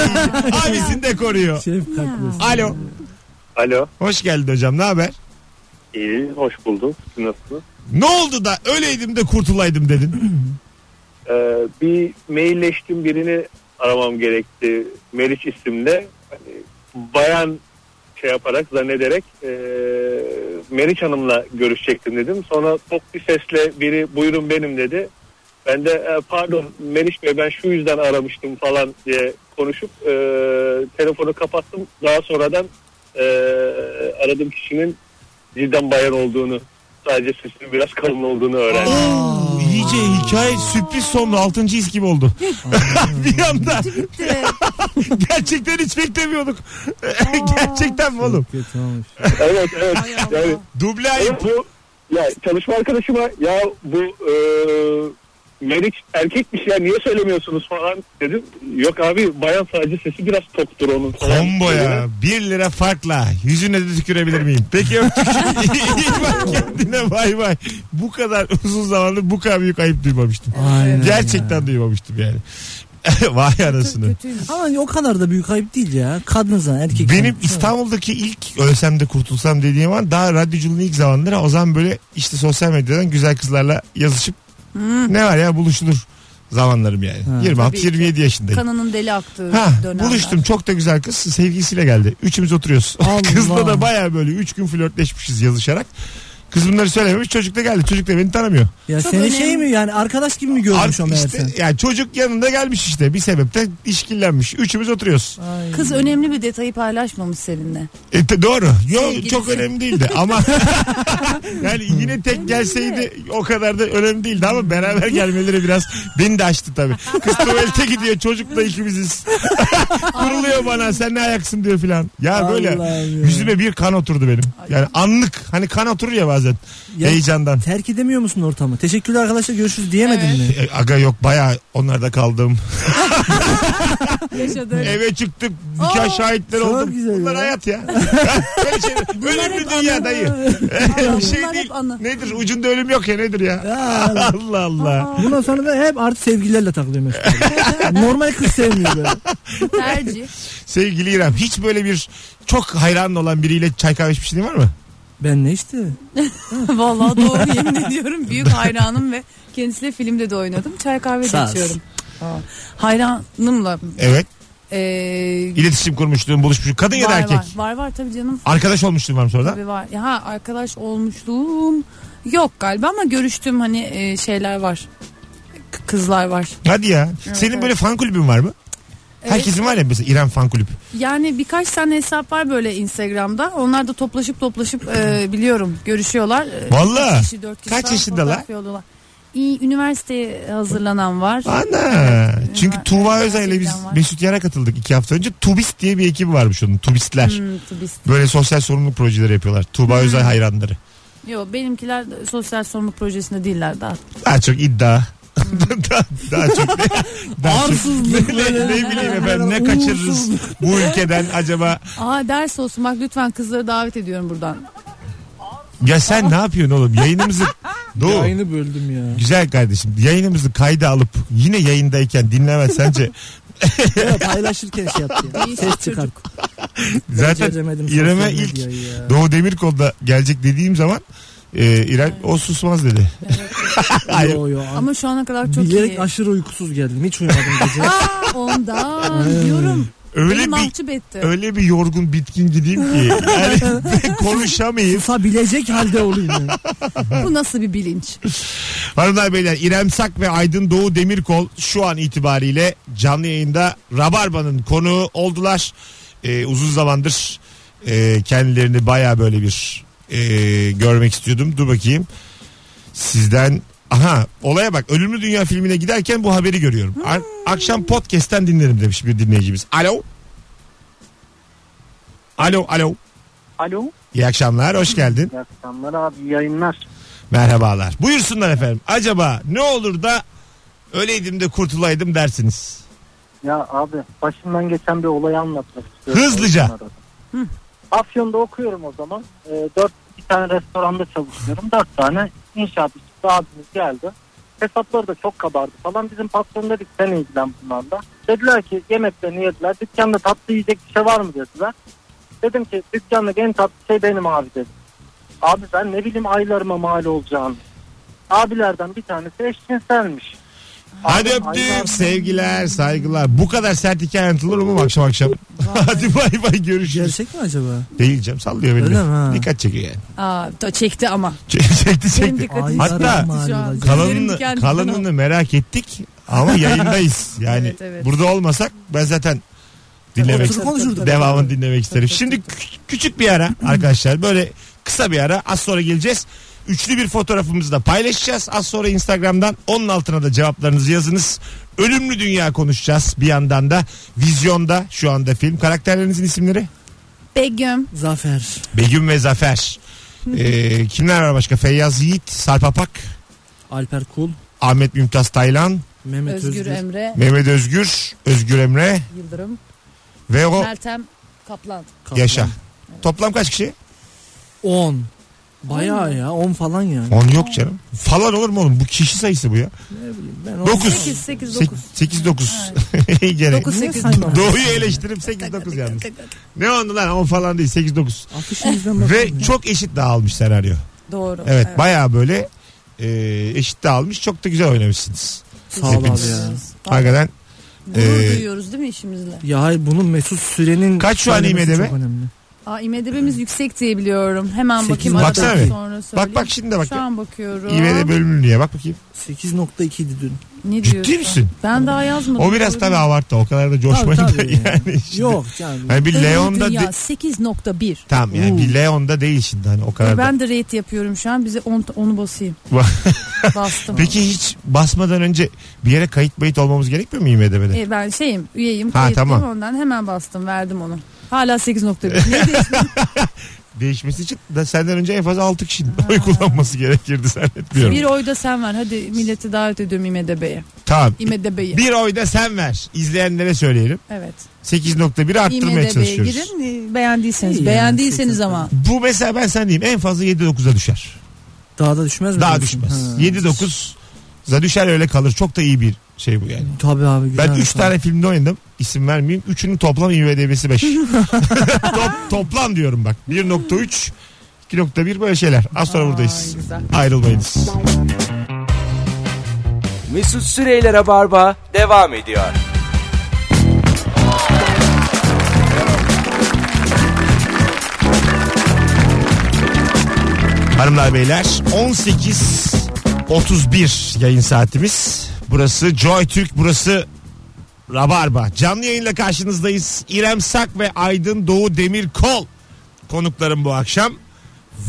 [SPEAKER 2] abisini de koruyor.
[SPEAKER 3] Şey Şefkatlisin.
[SPEAKER 2] Alo.
[SPEAKER 6] Alo.
[SPEAKER 2] Hoş geldin hocam. Ne haber?
[SPEAKER 6] İyi, hoş bulduk. Siz Nasılsınız?
[SPEAKER 2] Ne oldu da öleydim de kurtulaydım dedin.
[SPEAKER 6] Ee, bir mailleştim birini aramam gerekti. Meriç isimle. Hani bayan şey yaparak zannederek e, Meriç Hanım'la görüşecektim dedim. Sonra tok bir sesle biri buyurun benim dedi. Ben de "E, pardon Meriç Bey ben şu yüzden aramıştım falan diye konuşup e, telefonu kapattım. Daha sonradan e, aradığım kişinin cidden bayan olduğunu sadece sesinin biraz kalın olduğunu
[SPEAKER 2] Oh.
[SPEAKER 6] öğrendim.
[SPEAKER 2] Oo, iyice hikaye sürpriz sonlu. Altıncı his gibi oldu. bir anda
[SPEAKER 4] Bitti.
[SPEAKER 2] gerçekten hiç beklemiyorduk. gerçekten mi oğlum?
[SPEAKER 3] Kötü olmuş.
[SPEAKER 6] evet evet.
[SPEAKER 4] Hay Allah.
[SPEAKER 6] Yani
[SPEAKER 2] Duble
[SPEAKER 6] Hayır
[SPEAKER 2] ayıp.
[SPEAKER 6] bu ya çalışma arkadaşıma ya bu e, Meriç erkekmiş ya niye söylemiyorsunuz falan dedim. Yok abi bayan sadece sesi biraz toktur onun. falan.
[SPEAKER 2] Combo ya. 1 lira farkla. Yüzüne de tükürebilir miyim? Peki öptük. İyi bak kendine bay bay. Bu kadar uzun zamandır bu kadar büyük ayıp duymamıştım.
[SPEAKER 3] Aynen
[SPEAKER 2] Gerçekten duymamıştım yani. Vay anasını.
[SPEAKER 4] Kötüymüş.
[SPEAKER 3] Ama o kadar da büyük ayıp değil ya. Kadınsan erkeksen.
[SPEAKER 2] Benim İstanbul'daki ilk ölsem de kurtulsam dediğim an daha radyoculuğun ilk zamanları o zaman böyle işte sosyal medyadan güzel kızlarla yazışıp ne var ya buluşulur zamanlarım yani.
[SPEAKER 3] Ha.
[SPEAKER 2] 26-27 yaşındayım.
[SPEAKER 4] Kanının deli aktığı
[SPEAKER 2] Ha,
[SPEAKER 4] dönemler.
[SPEAKER 2] buluştum çok da güzel kız sevgilisiyle geldi. Üçümüz oturuyoruz.
[SPEAKER 3] Allah.
[SPEAKER 2] Kızla da baya böyle üç gün flörtleşmişiz yazışarak. Kız bunları söylememiş çocuk da geldi. Çocuk da beni tanımıyor.
[SPEAKER 3] Ya
[SPEAKER 4] Çok
[SPEAKER 3] seni
[SPEAKER 4] önemli.
[SPEAKER 3] şey mi yani arkadaş gibi mi görmüş o
[SPEAKER 2] Ar-
[SPEAKER 3] meğerse?
[SPEAKER 2] işte, yani çocuk yanında gelmiş işte bir sebepten işkillenmiş. Üçümüz oturuyoruz.
[SPEAKER 3] Ay.
[SPEAKER 4] Kız önemli bir detayı paylaşmamış seninle.
[SPEAKER 2] E, te- doğru. Yo,
[SPEAKER 4] Sevgilisi.
[SPEAKER 2] çok önemli değildi ama yani yine tek gelseydi o kadar da önemli değildi ama beraber gelmeleri biraz beni de açtı tabii. Kız tuvalete gidiyor çocuk da ikimiziz. Kuruluyor bana sen ne ayaksın diyor filan. Ya böyle
[SPEAKER 3] Allah'ım ya.
[SPEAKER 2] yüzüme bir kan oturdu benim. Yani anlık hani kan oturur ya bazen
[SPEAKER 3] Ya-
[SPEAKER 2] heyecandan.
[SPEAKER 3] Terk edemiyor musun ortamı? Teşekkürler arkadaşlar görüşürüz diyemedin
[SPEAKER 4] Evet.
[SPEAKER 3] mi?
[SPEAKER 2] E, Aga yok bayağı onlarda kaldım.
[SPEAKER 4] Yaşadığı
[SPEAKER 2] Eve çıktık nikah
[SPEAKER 4] Aa,
[SPEAKER 2] şahitleri
[SPEAKER 3] çok
[SPEAKER 2] oldum.
[SPEAKER 3] güzel
[SPEAKER 2] Bunlar
[SPEAKER 3] ya.
[SPEAKER 2] hayat ya. Böyle şey, ölümlü
[SPEAKER 4] hep
[SPEAKER 2] dünya
[SPEAKER 4] anı.
[SPEAKER 2] dayı.
[SPEAKER 4] Aa,
[SPEAKER 2] şey
[SPEAKER 4] bunlar
[SPEAKER 2] değil.
[SPEAKER 4] hep anı.
[SPEAKER 2] Nedir ucunda ölüm yok ya nedir ya.
[SPEAKER 3] Ya,
[SPEAKER 2] Allah Allah.
[SPEAKER 3] Bundan sonra da hep artık sevgililerle takılıyorum. mesela. Normal kız sevmiyor böyle.
[SPEAKER 4] tercih.
[SPEAKER 2] Sevgili İrem hiç böyle bir çok hayran olan biriyle çay kahve içmişliğin var mı?
[SPEAKER 3] Ben ne işte?
[SPEAKER 4] Vallahi doğru yemin ediyorum. Büyük hayranım ve kendisiyle filmde de oynadım. Çay kahve
[SPEAKER 3] Sağ
[SPEAKER 4] de
[SPEAKER 3] olsun.
[SPEAKER 4] içiyorum. Aa, Hayranımla.
[SPEAKER 2] Evet.
[SPEAKER 4] E,
[SPEAKER 2] İletişim kurmuşluğun buluşmuş. Kadın ya da
[SPEAKER 4] var,
[SPEAKER 2] erkek.
[SPEAKER 4] var, var var tabii canım.
[SPEAKER 2] Arkadaş olmuşluğun var mı sonra?
[SPEAKER 4] Tabii var. Ya, Ha arkadaş olmuşluğum yok galiba ama görüştüğüm hani e, şeyler var. K- kızlar var.
[SPEAKER 2] Hadi ya. Senin
[SPEAKER 4] evet.
[SPEAKER 2] böyle fan kulübün var mı?
[SPEAKER 4] Evet.
[SPEAKER 2] Herkesin var ya mesela İrem fan kulüp.
[SPEAKER 4] Yani birkaç tane hesap var böyle Instagram'da. Onlar da toplaşıp toplaşıp e, biliyorum görüşüyorlar. E,
[SPEAKER 2] Valla.
[SPEAKER 4] üç kişi, dört kişi
[SPEAKER 2] Kaç
[SPEAKER 4] falan
[SPEAKER 2] yaşındalar?
[SPEAKER 4] fotoğraf yolluyorlar. İyi, üniversiteye hazırlanan var.
[SPEAKER 2] Ana.
[SPEAKER 4] Evet,
[SPEAKER 2] Çünkü
[SPEAKER 4] var.
[SPEAKER 2] Tuğba
[SPEAKER 4] Evet,
[SPEAKER 2] Özay'la biz
[SPEAKER 4] gerçekten var.
[SPEAKER 2] Mesut Yer'e katıldık iki hafta önce. Tubist diye bir ekibi varmış onun. Tubistler.
[SPEAKER 4] Hmm, tubist.
[SPEAKER 2] Böyle sosyal sorumluluk projeleri yapıyorlar. Tuğba Özay hayranları.
[SPEAKER 4] Yo benimkiler de sosyal sorumluluk projesinde değiller daha.
[SPEAKER 2] Daha çok iddia. daha, daha çok ne, daha çok-
[SPEAKER 3] Arsızlık
[SPEAKER 2] ne,
[SPEAKER 3] böyle.
[SPEAKER 2] ne bileyim efendim ne
[SPEAKER 3] Uğursuzluk.
[SPEAKER 2] kaçırırız bu ülkeden acaba
[SPEAKER 4] Aa ders olsun bak lütfen kızları davet ediyorum buradan.
[SPEAKER 2] ya sen ne yapıyorsun oğlum yayınımızı Doğu
[SPEAKER 3] Yayını böldüm ya.
[SPEAKER 2] güzel kardeşim yayınımızı kayda alıp yine yayındayken dinlemez sence
[SPEAKER 3] Ya paylaşırken şey yaptı ya.
[SPEAKER 4] İyi
[SPEAKER 3] Ses
[SPEAKER 4] çocuk.
[SPEAKER 3] çıkar.
[SPEAKER 2] zaten
[SPEAKER 3] Beceremedim sosyal
[SPEAKER 2] İrem'e ilk
[SPEAKER 3] medyayı ya.
[SPEAKER 2] Doğu Demirkol'da gelecek dediğim zaman Ee, İrem o susmaz dedi. Hayır.
[SPEAKER 3] Yo, yo.
[SPEAKER 4] Ama şu ana kadar çok
[SPEAKER 3] Bilerek
[SPEAKER 4] iyi.
[SPEAKER 3] aşırı uykusuz geldim. Hiç uyumadım gece.
[SPEAKER 4] Aa, ondan diyorum.
[SPEAKER 2] Ee, Öyle
[SPEAKER 4] Beni
[SPEAKER 2] bir
[SPEAKER 4] mahcup etti.
[SPEAKER 2] öyle bir yorgun bitkin gideyim ki yani konuşamayayım.
[SPEAKER 3] Susabilecek halde olayım. yani.
[SPEAKER 4] Bu nasıl bir bilinç?
[SPEAKER 2] Hanımlar beyler İrem Sak ve Aydın Doğu Demirkol şu an itibariyle canlı yayında Rabarba'nın konuğu oldular. Ee, uzun zamandır e, kendilerini baya böyle bir e, görmek istiyordum. Dur bakayım sizden aha olaya bak Ölümlü Dünya filmine giderken bu haberi görüyorum. Ar- Akşam podcast'ten dinlerim demiş bir dinleyicimiz. Alo. Alo alo.
[SPEAKER 7] Alo.
[SPEAKER 2] İyi akşamlar hoş geldin.
[SPEAKER 7] İyi akşamlar abi iyi yayınlar.
[SPEAKER 2] Merhabalar. Buyursunlar efendim. Acaba ne olur da öleydim de kurtulaydım dersiniz.
[SPEAKER 7] Ya abi başımdan geçen bir olayı anlatmak istiyorum.
[SPEAKER 2] Hızlıca.
[SPEAKER 7] Afyon'da. Afyon'da okuyorum o zaman. Ee, dört bir tane restoranda çalışıyorum. Dört tane inşaat işçisi abimiz geldi. Hesapları da çok kabardı falan. Bizim patron dedik sen ilgilen bunlarla. Dediler ki yemeklerini yediler. Dükkanda tatlı yiyecek bir şey var mı dediler. Dedim ki dükkanda en tatlı şey benim abi dedim. Abi ben ne bileyim aylarıma mal olacağını. Abilerden bir tanesi eşcinselmiş.
[SPEAKER 2] Hadi
[SPEAKER 7] Abi, aylar-
[SPEAKER 2] öptük. Sevgiler, saygılar. Bu kadar sert hikaye anlatılır mı akşam akşam? Hadi bay bay görüşürüz.
[SPEAKER 3] Gerçek mi acaba?
[SPEAKER 2] Değil canım sallıyor beni.
[SPEAKER 3] Öyle
[SPEAKER 2] de.
[SPEAKER 3] mi? Ha.
[SPEAKER 2] Dikkat çekiyor yani.
[SPEAKER 4] Aa, da çekti ama.
[SPEAKER 2] Ç- çekti
[SPEAKER 4] Benim
[SPEAKER 2] çekti.
[SPEAKER 4] dikkatim
[SPEAKER 2] Hatta
[SPEAKER 4] çekti şu
[SPEAKER 3] kalanını-
[SPEAKER 4] an. Tüylerim
[SPEAKER 2] Kalanını,
[SPEAKER 4] diken diken oldu.
[SPEAKER 2] kalanını merak ettik ama yayındayız. Yani
[SPEAKER 4] Evet, evet.
[SPEAKER 2] burada olmasak ben zaten dinlemek
[SPEAKER 3] Oturup konuşurduk.
[SPEAKER 2] Devamını dinlemek isterim. Şimdi kü- küçük bir ara arkadaşlar. Böyle kısa bir ara. Az sonra geleceğiz. Üçlü bir fotoğrafımızı da paylaşacağız. Az sonra Instagram'dan onun altına da cevaplarınızı yazınız. Ölümlü dünya konuşacağız bir yandan da. Vizyonda şu anda film. Karakterlerinizin isimleri?
[SPEAKER 4] Begüm.
[SPEAKER 3] Zafer.
[SPEAKER 2] Begüm ve Zafer. Ee, kimler var başka? Feyyaz Yiğit, Sarp Apak,
[SPEAKER 3] Alper Kul.
[SPEAKER 2] Ahmet Mümtaz Taylan,
[SPEAKER 3] Mehmet
[SPEAKER 4] Özgür,
[SPEAKER 3] Özgür.
[SPEAKER 4] Emre.
[SPEAKER 2] Mehmet Özgür, Özgür Emre
[SPEAKER 4] Yıldırım.
[SPEAKER 2] ve o
[SPEAKER 4] Meltem Kaplan.
[SPEAKER 3] Kaplan.
[SPEAKER 2] Yaşa. Toplam kaç kişi?
[SPEAKER 3] 10. Bayağı ya 10 falan yani.
[SPEAKER 2] 10 yok canım. Falan olur mu oğlum? Bu kişi sayısı bu ya.
[SPEAKER 3] Ben on-
[SPEAKER 2] 9.
[SPEAKER 4] 8, 8, 9.
[SPEAKER 2] 8 9. İyi gene.
[SPEAKER 4] 9,
[SPEAKER 3] Niye
[SPEAKER 4] 8,
[SPEAKER 3] saymam?
[SPEAKER 2] Doğuyu eleştirip 8 9 yalnız. Ne oldu lan 10 falan değil 8 9.
[SPEAKER 3] Afişin yüzden
[SPEAKER 2] Ve
[SPEAKER 3] bakıyorum.
[SPEAKER 2] çok eşit dağılmış senaryo.
[SPEAKER 4] Doğru.
[SPEAKER 2] Evet, bayağı böyle e, eşit dağılmış. Çok da güzel oynamışsınız.
[SPEAKER 3] Sağ ol abi
[SPEAKER 2] hepiniz.
[SPEAKER 3] ya.
[SPEAKER 2] Hakikaten
[SPEAKER 4] Gurur
[SPEAKER 2] Ee,
[SPEAKER 4] duyuyoruz değil mi işimizle?
[SPEAKER 3] Ya hayır bunun Mesut Süren'in
[SPEAKER 2] Kaç şu an
[SPEAKER 3] söylemesi
[SPEAKER 2] IMDb?
[SPEAKER 3] çok önemli.
[SPEAKER 4] Aa, IMDB'miz yüksek diye biliyorum. Hemen bakayım
[SPEAKER 2] Sekiz.
[SPEAKER 4] aradan
[SPEAKER 2] Baksana bir.
[SPEAKER 4] sonra söyleyeyim.
[SPEAKER 2] bak bak şimdi de bak.
[SPEAKER 4] Şu an bakıyorum.
[SPEAKER 2] İVD bölümünü diye bak bakayım.
[SPEAKER 3] 8.2 idi dün.
[SPEAKER 4] Ne diyorsun?
[SPEAKER 2] Ciddi misin?
[SPEAKER 4] Ben daha yazmadım.
[SPEAKER 2] O biraz tabii abarttı. O kadar da
[SPEAKER 3] Tabii,
[SPEAKER 2] coşmayın da
[SPEAKER 3] tabii.
[SPEAKER 2] yani. şimdi-
[SPEAKER 3] Yok canım.
[SPEAKER 2] Hani bir Leon'da
[SPEAKER 4] Leon'da
[SPEAKER 2] de-
[SPEAKER 4] 8.1.
[SPEAKER 2] Tamam yani bir Leon'da değil şimdi hani o kadar. da-
[SPEAKER 4] E Ben de rate yapıyorum şu an. Bize 10 onu basayım. Bastım.
[SPEAKER 2] Peki hiç basmadan önce bir yere kayıt bayıt olmamız gerekmiyor mu IMDB'de?
[SPEAKER 4] E, ben şeyim, üyeyim.
[SPEAKER 2] Ha,
[SPEAKER 4] Ha,
[SPEAKER 2] tamam.
[SPEAKER 4] Ondan hemen bastım, verdim onu. Hala 8.1. Ne değişti?
[SPEAKER 2] değişmesi için de senden önce en fazla 6 kişinin oy kullanması gerekirdi zannetmiyorum.
[SPEAKER 4] bir oy da sen ver. Hadi milleti davet ediyorum İMDB'ye.
[SPEAKER 2] tamam.
[SPEAKER 4] İMDB'ye.
[SPEAKER 2] Bir oy da sen ver. İzleyenlere söyleyelim.
[SPEAKER 4] Evet.
[SPEAKER 2] 8.1'i arttırmaya
[SPEAKER 4] IMDB'ye
[SPEAKER 2] çalışıyoruz.
[SPEAKER 4] girin. e, Beğendiyseniz.
[SPEAKER 3] İyi
[SPEAKER 4] beğendiyseniz
[SPEAKER 3] yani,
[SPEAKER 4] ama.
[SPEAKER 2] Bu mesela ben sen diyeyim en fazla 7.9'a düşer.
[SPEAKER 3] Daha da düşmez mi?
[SPEAKER 2] Daha
[SPEAKER 3] diyorsun?
[SPEAKER 2] düşmez.
[SPEAKER 3] Ha.
[SPEAKER 2] 7.9'a düşer öyle kalır. Çok da iyi bir şey bu yani.
[SPEAKER 3] Tabii abi güzel.
[SPEAKER 2] Ben 3 tane filmde oynadım. İsim vermeyeyim. Üçünün toplam IMDB'si 5. Top- toplam diyorum bak. 1.3 2.1 böyle şeyler. Az sonra buradayız.
[SPEAKER 4] güzel.
[SPEAKER 2] Ayrılmayınız.
[SPEAKER 1] Mesut Süreyler'e barba devam ediyor.
[SPEAKER 2] Hanımlar beyler 18.31 yayın saatimiz. Burası Joy Türk burası Rabarba. Canlı yayınla karşınızdayız. İrem Sak ve Aydın Doğu Demirkol konuklarım bu akşam.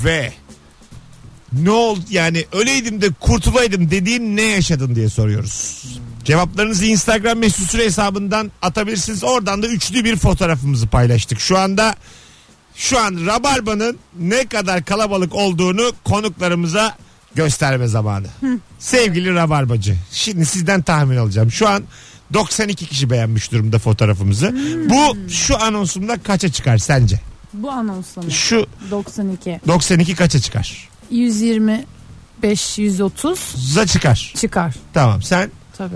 [SPEAKER 2] Ve ne oldu yani öleydim de kurtulaydım dediğin ne yaşadın diye soruyoruz. Cevaplarınızı Instagram mesut süre hesabından atabilirsiniz. Oradan da üçlü bir fotoğrafımızı paylaştık. Şu anda şu an Rabarba'nın ne kadar kalabalık olduğunu konuklarımıza gösterme zamanı. Sevgili Rabarbacı şimdi sizden tahmin alacağım. Şu an 92 kişi beğenmiş durumda fotoğrafımızı. Bu şu anonsumda kaça çıkar sence?
[SPEAKER 4] Bu anonsla mı?
[SPEAKER 2] Şu
[SPEAKER 4] 92.
[SPEAKER 2] 92 kaça çıkar?
[SPEAKER 4] 125, 130
[SPEAKER 2] Za çıkar.
[SPEAKER 4] çıkar.
[SPEAKER 2] Tamam sen
[SPEAKER 4] Tabii.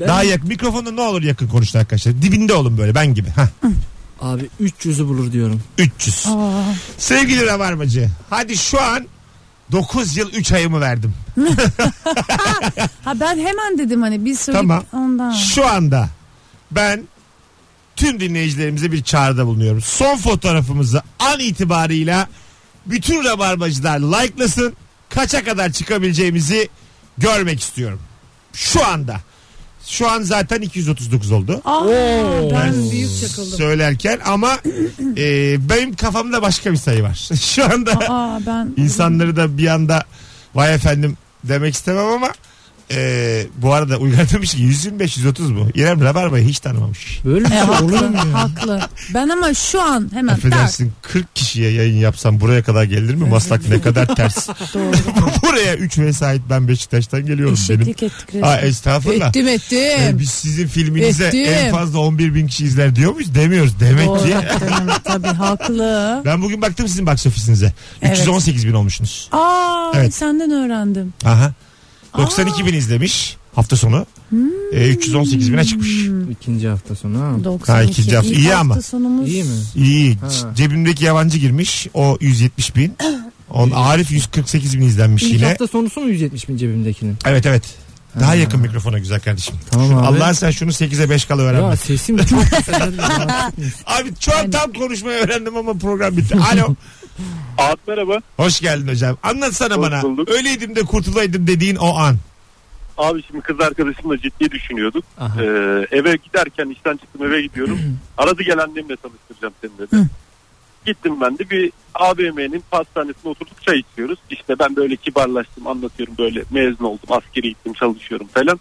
[SPEAKER 3] Ben-
[SPEAKER 2] daha yak mikrofonda ne olur yakın konuştu arkadaşlar. Dibinde olun böyle ben gibi. Hah.
[SPEAKER 3] Abi 300'ü bulur diyorum.
[SPEAKER 2] 300.
[SPEAKER 4] Aa,
[SPEAKER 2] Sevgili Rabarbacı hadi şu an 9 yıl 3 ayımı verdim.
[SPEAKER 4] Ha ben hemen dedim hani biz söyledik
[SPEAKER 2] Tamam.
[SPEAKER 4] ondan.
[SPEAKER 2] Şu anda ben tüm dinleyicilerimize bir çağrıda bulunuyorum. Son fotoğrafımızı an itibarıyla bütün rabarbacılar likelasın. Kaça kadar çıkabileceğimizi görmek istiyorum. Şu anda. Şu an zaten 239 oldu.
[SPEAKER 4] Aa, ben büyük çakıldım.
[SPEAKER 2] Söylerken ama e, benim kafamda başka bir sayı var. Şu anda
[SPEAKER 4] Aa ben
[SPEAKER 2] İnsanları da bir anda vay efendim demek istemem ama e, bu arada Uygar demiş ki 125 130 mu? İrem Rabarba'yı hiç tanımamış.
[SPEAKER 8] Böyle bir
[SPEAKER 4] E,
[SPEAKER 8] şey olur
[SPEAKER 4] haklı,
[SPEAKER 8] mu ya?
[SPEAKER 4] haklı. Ben ama şu an hemen tak
[SPEAKER 2] Affedersin 40 kişiye yayın yapsam buraya kadar gelir mi? Maslak ne kadar ters.
[SPEAKER 4] doğru.
[SPEAKER 2] buraya 3 vesait ben Beşiktaş'tan geliyorum benim.
[SPEAKER 4] Eşitlik ettik resmen.
[SPEAKER 2] Ha, estağfurullah.
[SPEAKER 4] Ettim
[SPEAKER 2] E,
[SPEAKER 4] ettim.
[SPEAKER 2] biz sizin filminize
[SPEAKER 4] Ettim.
[SPEAKER 2] en fazla 11 bin kişi izler diyor muyuz? Demiyoruz. Demek
[SPEAKER 4] Doğru
[SPEAKER 2] ki.
[SPEAKER 4] haklı. Tabii haklı.
[SPEAKER 2] Ben bugün baktım sizin box ofisinize.
[SPEAKER 4] Evet.
[SPEAKER 2] 318 bin olmuşsunuz.
[SPEAKER 4] Aa
[SPEAKER 2] Evet.
[SPEAKER 4] senden öğrendim.
[SPEAKER 2] Aha. 92 bin izlemiş hafta sonu. E, 318 bine çıkmış.
[SPEAKER 3] İkinci hafta sonu ha.
[SPEAKER 4] 92.
[SPEAKER 2] Ha, ikinci hafta.
[SPEAKER 4] İlk
[SPEAKER 2] İyi ama.
[SPEAKER 4] sonumuz.
[SPEAKER 3] İyi mi?
[SPEAKER 2] İyi.
[SPEAKER 3] Ha.
[SPEAKER 2] C- Cebimdeki yabancı girmiş. O 170 bin. On, Arif 148 bin izlenmiş
[SPEAKER 3] İlk
[SPEAKER 2] yine.
[SPEAKER 3] hafta sonusu mu 170 bin cebimdekinin?
[SPEAKER 2] Evet evet. Daha
[SPEAKER 3] Ha.
[SPEAKER 2] yakın mikrofona güzel kardeşim.
[SPEAKER 3] Tamam
[SPEAKER 2] Şunu-
[SPEAKER 3] abi.
[SPEAKER 2] Allah'ın sen şunu 8'e 5 kala öğrenme.
[SPEAKER 3] Ya sesim çok güzel.
[SPEAKER 2] Abi şu an tam konuşmayı öğrendim ama program bitti. Alo.
[SPEAKER 7] Ağat merhaba.
[SPEAKER 2] Hoş geldin hocam. Anlatsana
[SPEAKER 7] Hoş
[SPEAKER 2] bana.
[SPEAKER 7] bulduk.
[SPEAKER 2] Öyleydim de kurtulaydım dediğin o an.
[SPEAKER 7] Abi şimdi kız arkadaşımla ciddi düşünüyorduk.
[SPEAKER 3] Aha.
[SPEAKER 7] Ee, eve giderken işten çıktım eve gidiyorum. Aradı gel annemle tanıştıracağım seni dedi. Gittim ben de bir AVM'nin pastanesine oturduk çay içiyoruz. İşte ben böyle kibarlaştım anlatıyorum böyle mezun oldum askeri gittim çalışıyorum falan.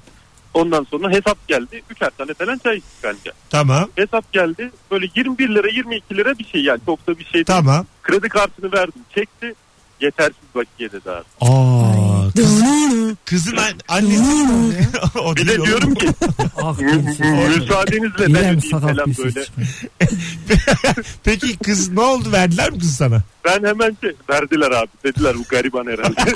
[SPEAKER 7] Ondan sonra hesap geldi. Üçer tane falan çay içtik bence.
[SPEAKER 2] Tamam.
[SPEAKER 7] Hesap geldi. Böyle 21 lira 22 lira bir şey yani çok da bir şey değil.
[SPEAKER 2] Tamam.
[SPEAKER 7] Kredi kartını verdim çekti. Yetersiz bakiye dedi abi.
[SPEAKER 2] Aa, kız, kızın an- annesi. o
[SPEAKER 7] Bir
[SPEAKER 2] değil
[SPEAKER 7] de
[SPEAKER 2] oğlum.
[SPEAKER 7] diyorum ki
[SPEAKER 3] Ah,
[SPEAKER 7] müsaadenizle ben
[SPEAKER 3] İrem
[SPEAKER 7] ödeyeyim
[SPEAKER 3] sakal
[SPEAKER 7] falan
[SPEAKER 3] pis
[SPEAKER 7] böyle.
[SPEAKER 2] Peki kız ne oldu? Verdiler mi kız sana?
[SPEAKER 7] Ben hemen şey, verdiler abi. Dediler bu gariban herhalde.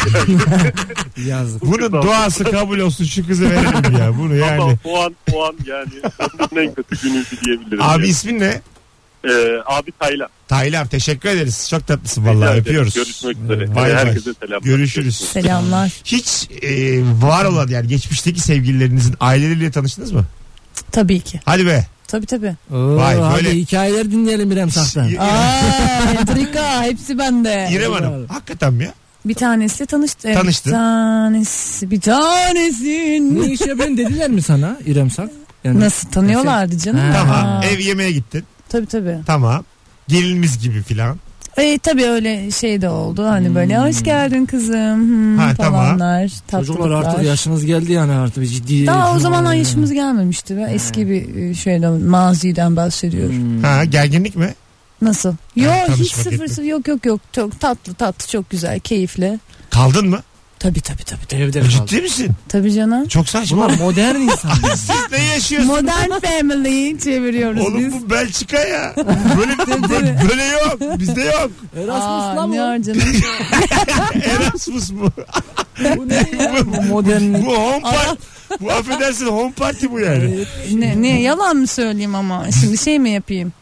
[SPEAKER 3] Yazık.
[SPEAKER 2] Bunun
[SPEAKER 7] kız-
[SPEAKER 2] duası kabul olsun şu kızı verelim ya. Bunu
[SPEAKER 7] Ama
[SPEAKER 2] yani.
[SPEAKER 7] o an o an yani ömrümün en kötü günüydü diyebilirim.
[SPEAKER 2] Abi
[SPEAKER 7] yani.
[SPEAKER 2] ismin ne?
[SPEAKER 7] Ee, abi Taylan.
[SPEAKER 2] Taylan teşekkür ederiz. Çok tatlısın
[SPEAKER 7] Rica
[SPEAKER 2] vallahi
[SPEAKER 7] ederim.
[SPEAKER 2] öpüyoruz.
[SPEAKER 7] Görüşmek
[SPEAKER 2] Bay
[SPEAKER 7] üzere.
[SPEAKER 2] bay.
[SPEAKER 7] Herkese selam.
[SPEAKER 2] Görüşürüz.
[SPEAKER 4] Selamlar.
[SPEAKER 2] Hiç e, var olan yani geçmişteki sevgililerinizin aileleriyle tanıştınız mı?
[SPEAKER 4] Tabii ki.
[SPEAKER 2] Hadi be.
[SPEAKER 4] Tabii tabii.
[SPEAKER 3] Oo,
[SPEAKER 2] Vay,
[SPEAKER 3] hadi
[SPEAKER 2] böyle-
[SPEAKER 3] hikayeler dinleyelim İrem Sak'tan.
[SPEAKER 2] İ-
[SPEAKER 4] Aa, entrika hepsi bende.
[SPEAKER 2] İrem Hanım. Hakikaten mi ya?
[SPEAKER 4] Bir tanesiyle tanıştı.
[SPEAKER 2] Tanıştın.
[SPEAKER 4] Bir tanesi, bir tanesin.
[SPEAKER 3] ne iş yapıyorsun dediler mi sana İrem Sak? Yani
[SPEAKER 4] Nasıl tanıyorlardı canım?
[SPEAKER 3] Ha.
[SPEAKER 2] Tamam.
[SPEAKER 4] Aa,
[SPEAKER 2] Ev yemeğe gittin.
[SPEAKER 4] Tabii tabii.
[SPEAKER 2] Tamam. Gelinimiz gibi filan.
[SPEAKER 4] E, tabii öyle şey de oldu. Hani
[SPEAKER 3] Hmm.
[SPEAKER 4] böyle hoş geldin kızım hmm,
[SPEAKER 2] Ha, tamam.
[SPEAKER 4] falanlar.
[SPEAKER 3] Çocuklar
[SPEAKER 4] tatlılıklar.
[SPEAKER 3] artık Hmm. yaşınız geldi yani artık bir ciddi.
[SPEAKER 4] Daha o zamanlar yaşımız gelmemişti. Ben eski bir e, şeyden maziden bahsediyorum.
[SPEAKER 3] Hmm.
[SPEAKER 2] Ha gerginlik mi?
[SPEAKER 4] Nasıl? Yok hiç
[SPEAKER 2] tanışmak
[SPEAKER 4] sıfır
[SPEAKER 2] etmek.
[SPEAKER 4] sıfır yok yok yok. Çok tatlı tatlı çok güzel keyifli.
[SPEAKER 2] Kaldın mı?
[SPEAKER 4] Tabii tabii tabii. tabii.
[SPEAKER 3] Evde kaldı.
[SPEAKER 2] Ciddi misin?
[SPEAKER 4] Tabii canım.
[SPEAKER 2] Çok saçma.
[SPEAKER 3] Bunlar modern insanlar.
[SPEAKER 2] Siz ne yaşıyorsunuz?
[SPEAKER 4] Modern Family çeviriyoruz
[SPEAKER 2] Oğlum
[SPEAKER 4] biz.
[SPEAKER 2] bu Belçika ya. Böyle, böyle, böyle yok. Bizde yok.
[SPEAKER 3] Erasmus lan
[SPEAKER 4] ne
[SPEAKER 3] bu.
[SPEAKER 4] var canım?
[SPEAKER 2] Erasmus bu.
[SPEAKER 3] Bu ne ya?
[SPEAKER 2] Bu-
[SPEAKER 3] Bu modernlik.
[SPEAKER 2] Bu home party. Bu affedersin home party bu yani.
[SPEAKER 4] ne, ne yalan mı söyleyeyim ama şimdi şey mi yapayım?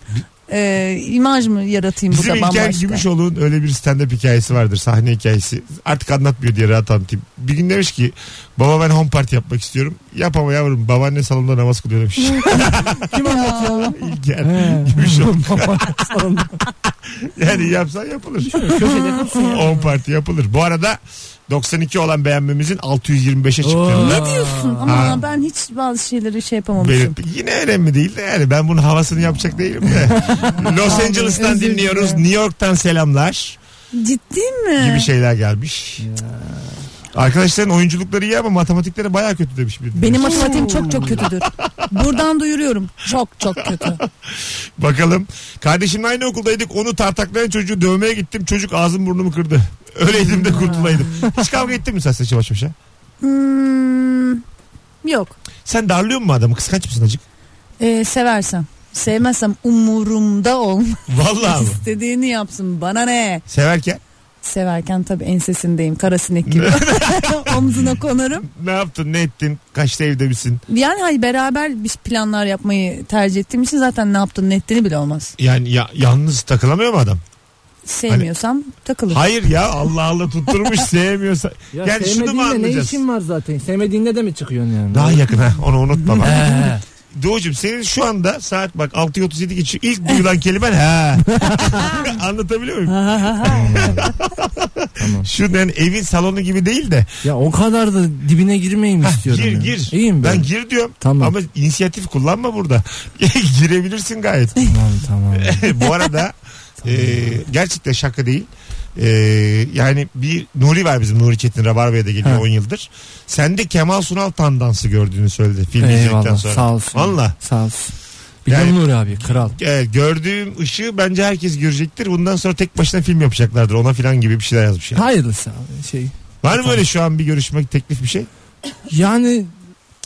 [SPEAKER 4] Ee, imaj mı yaratayım
[SPEAKER 2] Bizim
[SPEAKER 4] burada
[SPEAKER 2] İlker
[SPEAKER 4] bambaşka?
[SPEAKER 2] Gümüşoğlu'nun öyle bir stand-up hikayesi vardır. Sahne hikayesi. Artık anlatmıyor diye rahat anlatayım. Bir gün demiş ki baba ben home party yapmak istiyorum. Yap ama yavrum babaanne salonda namaz kılıyor demiş.
[SPEAKER 3] Kim anlatıyor?
[SPEAKER 2] İlker
[SPEAKER 3] He.
[SPEAKER 2] Gümüşoğlu.
[SPEAKER 3] Salonda.
[SPEAKER 2] Yani yapsan yapılır.
[SPEAKER 3] Köşede dursun ya.
[SPEAKER 2] home party yapılır. Bu arada 92 olan beğenmemizin 625'e çıktığını
[SPEAKER 4] Ne diyorsun? Ama
[SPEAKER 2] Ha.
[SPEAKER 4] ben hiç bazı şeyleri şey yapamamışım.
[SPEAKER 2] belirtti. Yine önemli değil de yani ben bunun havasını yapacak değilim de. Los
[SPEAKER 4] Abi,
[SPEAKER 2] Angeles'tan
[SPEAKER 4] özür
[SPEAKER 2] dinliyoruz.
[SPEAKER 4] dilerim.
[SPEAKER 2] New York'tan selamlar.
[SPEAKER 4] Ciddi mi?
[SPEAKER 2] gibi şey- şeyler gelmiş. Arkadaşların oyunculukları iyi ama matematikleri baya kötü demiş bir.
[SPEAKER 4] Benim matematiğim çok çok kötüdür. Buradan duyuruyorum. Çok çok kötü.
[SPEAKER 2] Bakalım. Kardeşimle aynı okuldaydık. Onu tartaklayan çocuğu dövmeye gittim. Çocuk ağzım burnumu kırdı. Öyleydim de kurtulaydım. Hiç kavga ettin mi sen şey? saçı baş başa?
[SPEAKER 4] Hmm, yok.
[SPEAKER 2] Sen darlıyor mu adamı? Kıskanç mısın acık?
[SPEAKER 4] Ee, seversem. Sevmezsem umurumda olmaz.
[SPEAKER 2] Vallahi mı?
[SPEAKER 4] İstediğini yapsın. Bana ne?
[SPEAKER 2] Severken
[SPEAKER 4] Severken tabii ensesindeyim. Kara sinek gibi. Omzuna konarım.
[SPEAKER 2] ne yaptın ne ettin? Kaçta evde misin?
[SPEAKER 4] Yani hani beraber bir planlar yapmayı tercih ettiğim için zaten ne yaptığını ne ettiğini bile olmaz.
[SPEAKER 2] Yani ya, yalnız takılamıyor mu adam?
[SPEAKER 4] sevmiyorsam takılır.
[SPEAKER 2] Hani- Hayır ya Allah Allah tutturmuş sevmiyorsa.
[SPEAKER 9] Ya
[SPEAKER 2] yani şunu mu
[SPEAKER 9] sevmediğinle ne
[SPEAKER 2] anlayacağız?
[SPEAKER 9] işin var zaten? Sevmediğinde de mi çıkıyorsun yani?
[SPEAKER 2] Daha yakın ha onu unutma bak.
[SPEAKER 3] He.
[SPEAKER 2] Doğucum senin şu anda saat bak 6.37 geçiyor. İlk duyulan kelimen ha. Anlatabiliyor muyum? Şu yani evin salonu gibi değil de.
[SPEAKER 3] ya o kadar da dibine girmeyeyim istiyorum.
[SPEAKER 2] Gir
[SPEAKER 3] ya.
[SPEAKER 2] gir.
[SPEAKER 3] İyiyim ben.
[SPEAKER 2] ben. gir diyorum.
[SPEAKER 3] Tamam.
[SPEAKER 2] Ama inisiyatif kullanma burada. Girebilirsin gayet.
[SPEAKER 3] Tamam tamam.
[SPEAKER 2] Bu arada e, gerçekten şaka değil. E, yani bir Nuri var bizim Nuri Çetin Rabarba'ya da geliyor
[SPEAKER 3] Ha.
[SPEAKER 2] 10 yıldır. Sen de Kemal Sunal tandansı gördüğünü söyledi film izledikten
[SPEAKER 3] Eyvallah
[SPEAKER 2] sonra.
[SPEAKER 3] sağ olsun.
[SPEAKER 2] Valla.
[SPEAKER 3] Sağ olsun. Biliyorum
[SPEAKER 2] Yani-
[SPEAKER 3] Nuri abi kral.
[SPEAKER 2] E, gördüğüm ışığı bence herkes görecektir. Bundan sonra tek başına film yapacaklardır ona filan gibi bir şeyler yazmış. Yani.
[SPEAKER 3] Hayırlısı abi şey.
[SPEAKER 2] Var mı öyle şu an bir görüşmek teklif bir şey?
[SPEAKER 3] Yani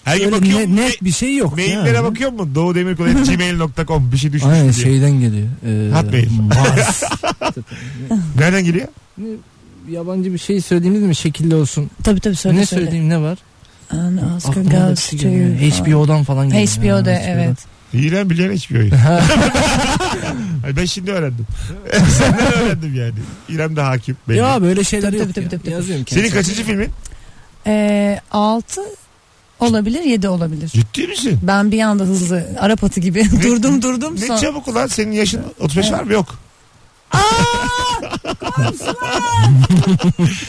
[SPEAKER 2] Her gün
[SPEAKER 3] öyle
[SPEAKER 2] bakıyor
[SPEAKER 3] ne-
[SPEAKER 2] mu?
[SPEAKER 3] net bir şey yok.
[SPEAKER 2] Maillere
[SPEAKER 3] yani.
[SPEAKER 2] bakıyor mu? Doğu gmail.com bir şey düşmüş
[SPEAKER 3] Aynen
[SPEAKER 2] mü diye.
[SPEAKER 3] şeyden geliyor. Ee,
[SPEAKER 2] Hotmail.
[SPEAKER 3] Mars.
[SPEAKER 2] Nereden geliyor?
[SPEAKER 9] Ne- Yabancı bir şey söylediğimiz mi şekilli olsun?
[SPEAKER 4] Tabii tabii söyle
[SPEAKER 9] ne
[SPEAKER 4] söyle.
[SPEAKER 9] söyleyeyim ne var?
[SPEAKER 4] An
[SPEAKER 2] Ah,
[SPEAKER 4] Oscar
[SPEAKER 3] Aklıma da bir
[SPEAKER 4] goes
[SPEAKER 3] şey
[SPEAKER 4] to
[SPEAKER 3] geliyor. HBO'dan falan geliyor.
[SPEAKER 4] HBO'da
[SPEAKER 3] Ha,
[SPEAKER 4] evet.
[SPEAKER 2] İğren bilen hiçbir oyun. Ay ben şimdi öğrendim. Senden öğrendim yani. İrem de hakim. Benim.
[SPEAKER 3] Ya böyle şeyler
[SPEAKER 4] Tabii,
[SPEAKER 3] yok
[SPEAKER 4] tabii,
[SPEAKER 3] ya.
[SPEAKER 4] tabii, tabii.
[SPEAKER 3] Yazıyorum kendisi.
[SPEAKER 2] Senin kaçıncı filmin?
[SPEAKER 4] Ee, 6 olabilir 7 olabilir.
[SPEAKER 2] Ciddi misin?
[SPEAKER 4] Ben bir anda hızlı Arap atı gibi durdum durdum.
[SPEAKER 2] Ne
[SPEAKER 4] sonra-
[SPEAKER 2] çabuk ulan senin yaşın 35 var mı? Yok.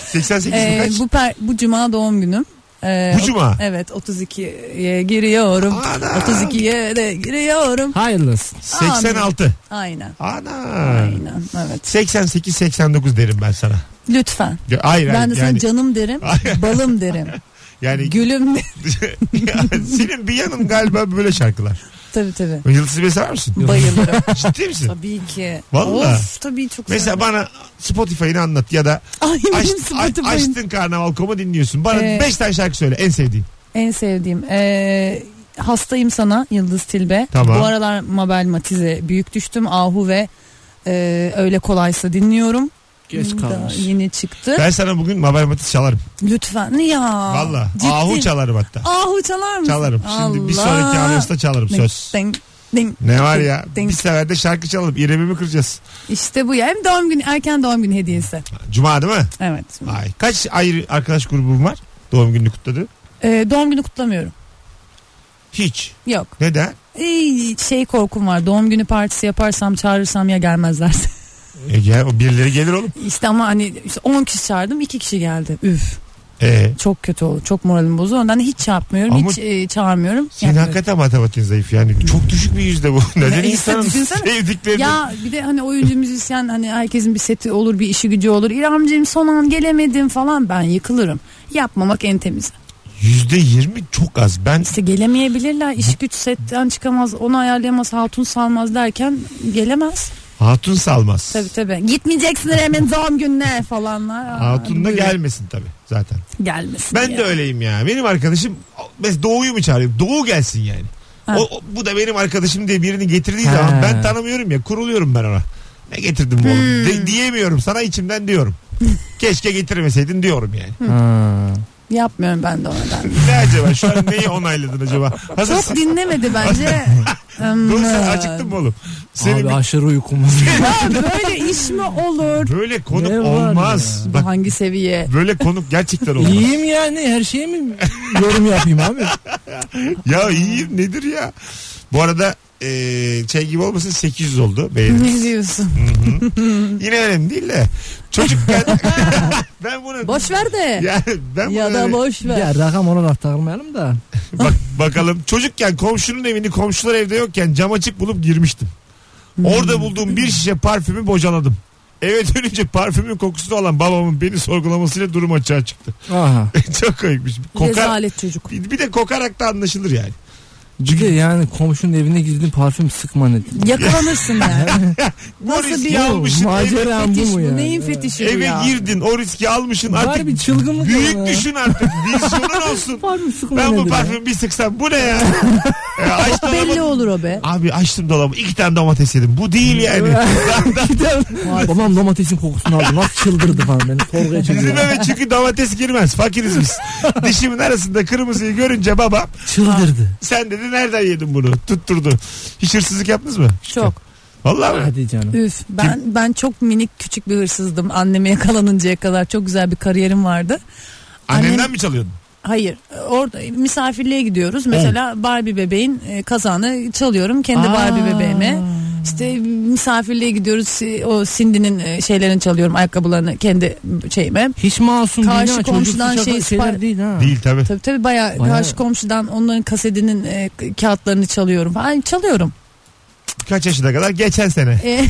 [SPEAKER 2] 88 mi
[SPEAKER 4] Ee,
[SPEAKER 2] kaç?
[SPEAKER 4] bu, per- bu cuma doğum günüm. Ee,
[SPEAKER 2] Bu cuma.
[SPEAKER 4] Evet 32'ye giriyorum.
[SPEAKER 2] Ana.
[SPEAKER 4] 32'ye de giriyorum.
[SPEAKER 3] Hayırlısı.
[SPEAKER 2] 86.
[SPEAKER 4] Aynen.
[SPEAKER 2] Ana.
[SPEAKER 4] Aynen evet.
[SPEAKER 2] 88-89 derim ben sana.
[SPEAKER 4] Lütfen.
[SPEAKER 2] Ya, Hayır
[SPEAKER 4] ben de
[SPEAKER 2] hayır.
[SPEAKER 4] sana
[SPEAKER 2] Yani,
[SPEAKER 4] canım derim, balım derim,
[SPEAKER 2] yani,
[SPEAKER 4] gülüm derim.
[SPEAKER 2] senin bir yanın galiba böyle şarkılar.
[SPEAKER 4] tabii tabii.
[SPEAKER 2] Yıldız Bey sever misin?
[SPEAKER 4] Bayılırım.
[SPEAKER 2] Ciddi misin?
[SPEAKER 4] tabii ki.
[SPEAKER 2] Vallahi.
[SPEAKER 4] Of tabii çok
[SPEAKER 2] Mesela
[SPEAKER 4] severim.
[SPEAKER 2] bana Spotify'ını anlat ya da
[SPEAKER 4] Ay
[SPEAKER 2] Aç,
[SPEAKER 4] benim
[SPEAKER 2] aç-
[SPEAKER 4] Spotify'ın
[SPEAKER 2] açtın karnaval.com'u dinliyorsun. Bana
[SPEAKER 4] Ee,
[SPEAKER 2] 5 tane şarkı söyle en sevdiğin.
[SPEAKER 4] En sevdiğim. Ee, hastayım sana Yıldız Tilbe.
[SPEAKER 2] Tamam.
[SPEAKER 4] Bu aralar Mabel Matiz'e büyük düştüm. Ahu ve e, öyle kolaysa dinliyorum.
[SPEAKER 3] Geç
[SPEAKER 4] Daha
[SPEAKER 3] kalmış.
[SPEAKER 4] Yeni çıktı.
[SPEAKER 2] Ben sana bugün Mabel Matiz çalarım.
[SPEAKER 4] Lütfen ya.
[SPEAKER 2] Valla.
[SPEAKER 4] Ciddi.
[SPEAKER 2] Ahu çalarım hatta.
[SPEAKER 4] Ahu çalar mısın?
[SPEAKER 2] Çalarım. Şimdi bir
[SPEAKER 4] Allah.
[SPEAKER 2] sonraki anonsta çalarım söz.
[SPEAKER 4] Ding, ding,
[SPEAKER 2] Ne var
[SPEAKER 4] ding,
[SPEAKER 2] ya?
[SPEAKER 4] ding.
[SPEAKER 2] Bir sefer de şarkı çalalım. İremimi kıracağız.
[SPEAKER 4] İşte bu ya. Hem doğum günü erken doğum günü hediyesi.
[SPEAKER 2] Cuma değil mi?
[SPEAKER 4] Evet.
[SPEAKER 2] Ay. Kaç ayrı arkadaş grubum var? Doğum gününü kutladı.
[SPEAKER 4] Ee, doğum günü kutlamıyorum.
[SPEAKER 2] Hiç.
[SPEAKER 4] Yok.
[SPEAKER 2] Neden?
[SPEAKER 4] Ee, şey korkum var. Doğum günü partisi yaparsam çağırırsam ya gelmezlerse.
[SPEAKER 2] E gel, o birileri gelir oğlum.
[SPEAKER 4] işte ama hani işte 10 kişi çağırdım 2 kişi geldi. Üf.
[SPEAKER 2] E,
[SPEAKER 4] Çok kötü oldu. Çok moralim bozuldu. Ondan hiç yapmıyorum.
[SPEAKER 2] Ama
[SPEAKER 4] hiç e, çağırmıyorum.
[SPEAKER 2] senin
[SPEAKER 4] Yapmıyorum.
[SPEAKER 2] hakikaten matematiğin zayıf yani. Çok düşük bir yüzde bu. Neden
[SPEAKER 4] işte
[SPEAKER 2] insanın
[SPEAKER 4] düşünsene.
[SPEAKER 2] sevdiklerini?
[SPEAKER 4] Ya bir de hani oyuncu müzisyen hani herkesin bir seti olur bir işi gücü olur. İremciğim son an gelemedim falan ben yıkılırım. Yapmamak en temiz.
[SPEAKER 2] Yüzde yirmi çok az. Ben
[SPEAKER 4] İşte gelemeyebilirler. İş güç setten çıkamaz, onu ayarlayamaz, hatun salmaz derken gelemez.
[SPEAKER 2] hatun salmaz.
[SPEAKER 4] Tabii tabii. Gitmeyeceksin hemen doğum gününe falanlar. Aa,
[SPEAKER 2] Hatun da
[SPEAKER 4] buyurun.
[SPEAKER 2] gelmesin tabii zaten.
[SPEAKER 4] Gelmesin.
[SPEAKER 2] Ben
[SPEAKER 4] ya.
[SPEAKER 2] de öyleyim ya. Benim arkadaşım mesela Doğu'yu mu çağırayım? Doğu gelsin yani.
[SPEAKER 4] Ha.
[SPEAKER 2] O, o- bu da benim arkadaşım diye birini getirdiği
[SPEAKER 3] Ha.
[SPEAKER 2] zaman ben tanımıyorum ya kuruluyorum ben ona. Ne getirdim bu oğlum?
[SPEAKER 4] Hmm.
[SPEAKER 2] De- diyemiyorum sana içimden diyorum. Keşke getirmeseydin diyorum yani.
[SPEAKER 3] Ha.
[SPEAKER 4] Yapmıyorum ben de ona ben.
[SPEAKER 2] ne acaba şu an neyi onayladın acaba?
[SPEAKER 4] Çok
[SPEAKER 2] Hazırsın.
[SPEAKER 4] dinlemedi bence.
[SPEAKER 2] Doğru sen
[SPEAKER 4] Aman.
[SPEAKER 2] acıktın mı oğlum? Senin
[SPEAKER 3] abi
[SPEAKER 2] bir-
[SPEAKER 3] aşırı uykum var.
[SPEAKER 4] Ya böyle iş mi olur?
[SPEAKER 2] böyle konuk
[SPEAKER 3] Ne var
[SPEAKER 2] olmaz.
[SPEAKER 4] Bu
[SPEAKER 2] Bak
[SPEAKER 4] hangi seviye?
[SPEAKER 2] böyle konuk gerçekten olmaz.
[SPEAKER 3] İyiyim yani her şeye mi yorum yapayım abi?
[SPEAKER 2] ya iyiyim nedir ya? Bu arada eee şey gibi olmasın 800 oldu. Beğeniniz.
[SPEAKER 4] ne diyorsun?
[SPEAKER 2] Yine önemli değil de çocukken ben bunu
[SPEAKER 4] Boş ver de. Ya,
[SPEAKER 2] yani ben bunu
[SPEAKER 4] da
[SPEAKER 2] hani-
[SPEAKER 4] boş ver.
[SPEAKER 3] ya rakam olarak takılmayalım da.
[SPEAKER 2] bak, bakalım çocukken komşunun evini komşular evde yokken cam açık bulup girmiştim. Orada
[SPEAKER 4] Hmm.
[SPEAKER 2] bulduğum bir şişe parfümü bocaladım. Eve dönünce parfümün kokusunu alan babamın beni sorgulamasıyla durum açığa çıktı.
[SPEAKER 3] Aha.
[SPEAKER 2] Çok komikmiş. Kokar,
[SPEAKER 4] Rezalet çocuk.
[SPEAKER 2] bir bir de kokarak da anlaşılır yani.
[SPEAKER 3] Bir de yani komşunun evine girdin parfüm sıkma ne?
[SPEAKER 4] Yakalanırsın yani.
[SPEAKER 2] Bu
[SPEAKER 4] Nasıl
[SPEAKER 2] riski
[SPEAKER 4] bir-
[SPEAKER 2] almışsın. Eve,
[SPEAKER 3] Macera bu
[SPEAKER 4] Fetiş
[SPEAKER 3] mu
[SPEAKER 4] bu
[SPEAKER 3] yani?
[SPEAKER 4] neyin fetişi bu
[SPEAKER 2] eve
[SPEAKER 4] ya?
[SPEAKER 2] girdin o riski almışsın
[SPEAKER 3] Bari
[SPEAKER 2] artık.
[SPEAKER 3] bir çılgınlık
[SPEAKER 2] Büyük
[SPEAKER 3] ama.
[SPEAKER 2] düşün artık. Vizyonun olsun.
[SPEAKER 3] Parfüm sıkma
[SPEAKER 2] Ben bu
[SPEAKER 3] nedir ya?
[SPEAKER 2] parfümü bir sıksam bu ne ya? E, ya aç dolabı-
[SPEAKER 4] Belli olur o be.
[SPEAKER 2] Abi açtım dolabı iki tane domates yedim. Bu değil yani.
[SPEAKER 3] Babam domatesin kokusunu aldı. Nasıl çıldırdı falan beni. Sorguya
[SPEAKER 2] Bizim
[SPEAKER 3] çekiyor.
[SPEAKER 2] eve çünkü domates girmez. Fakiriz biz. Dişimin arasında kırmızıyı görünce babam
[SPEAKER 3] Çıldırdı.
[SPEAKER 2] sen dedi nereden yedin bunu? Tutturdu. Hiç hırsızlık yaptınız mı?
[SPEAKER 4] Çok.
[SPEAKER 2] Vallahi mi?
[SPEAKER 9] Hadi canım.
[SPEAKER 4] Üf, ben ben çok minik küçük bir hırsızdım anneme yakalanıncaya kadar çok güzel bir kariyerim vardı.
[SPEAKER 2] Annenden
[SPEAKER 4] Annem-
[SPEAKER 2] mi çalıyordun?
[SPEAKER 4] Hayır orada misafirliğe gidiyoruz mesela Barbie bebeğin e, kazağını çalıyorum kendi Barbie
[SPEAKER 9] Aa.
[SPEAKER 4] bebeğime. İşte misafirliğe gidiyoruz e, o Cindy'nin e, şeylerini çalıyorum ayakkabılarını kendi şeyime.
[SPEAKER 9] Hiç masum
[SPEAKER 4] Karşı
[SPEAKER 9] değil ha.
[SPEAKER 4] komşudan
[SPEAKER 9] Çocuksu şaka-
[SPEAKER 4] şey
[SPEAKER 9] şeyler
[SPEAKER 4] spa-
[SPEAKER 9] değil ha.
[SPEAKER 2] Değil tabii.
[SPEAKER 4] Tabii tabii bayağı,
[SPEAKER 9] Bayağı.
[SPEAKER 4] karşı komşudan onların kasetinin e, k- kağıtlarını çalıyorum falan çalıyorum.
[SPEAKER 2] Kaç yaşına kadar? Geçen sene.
[SPEAKER 4] E,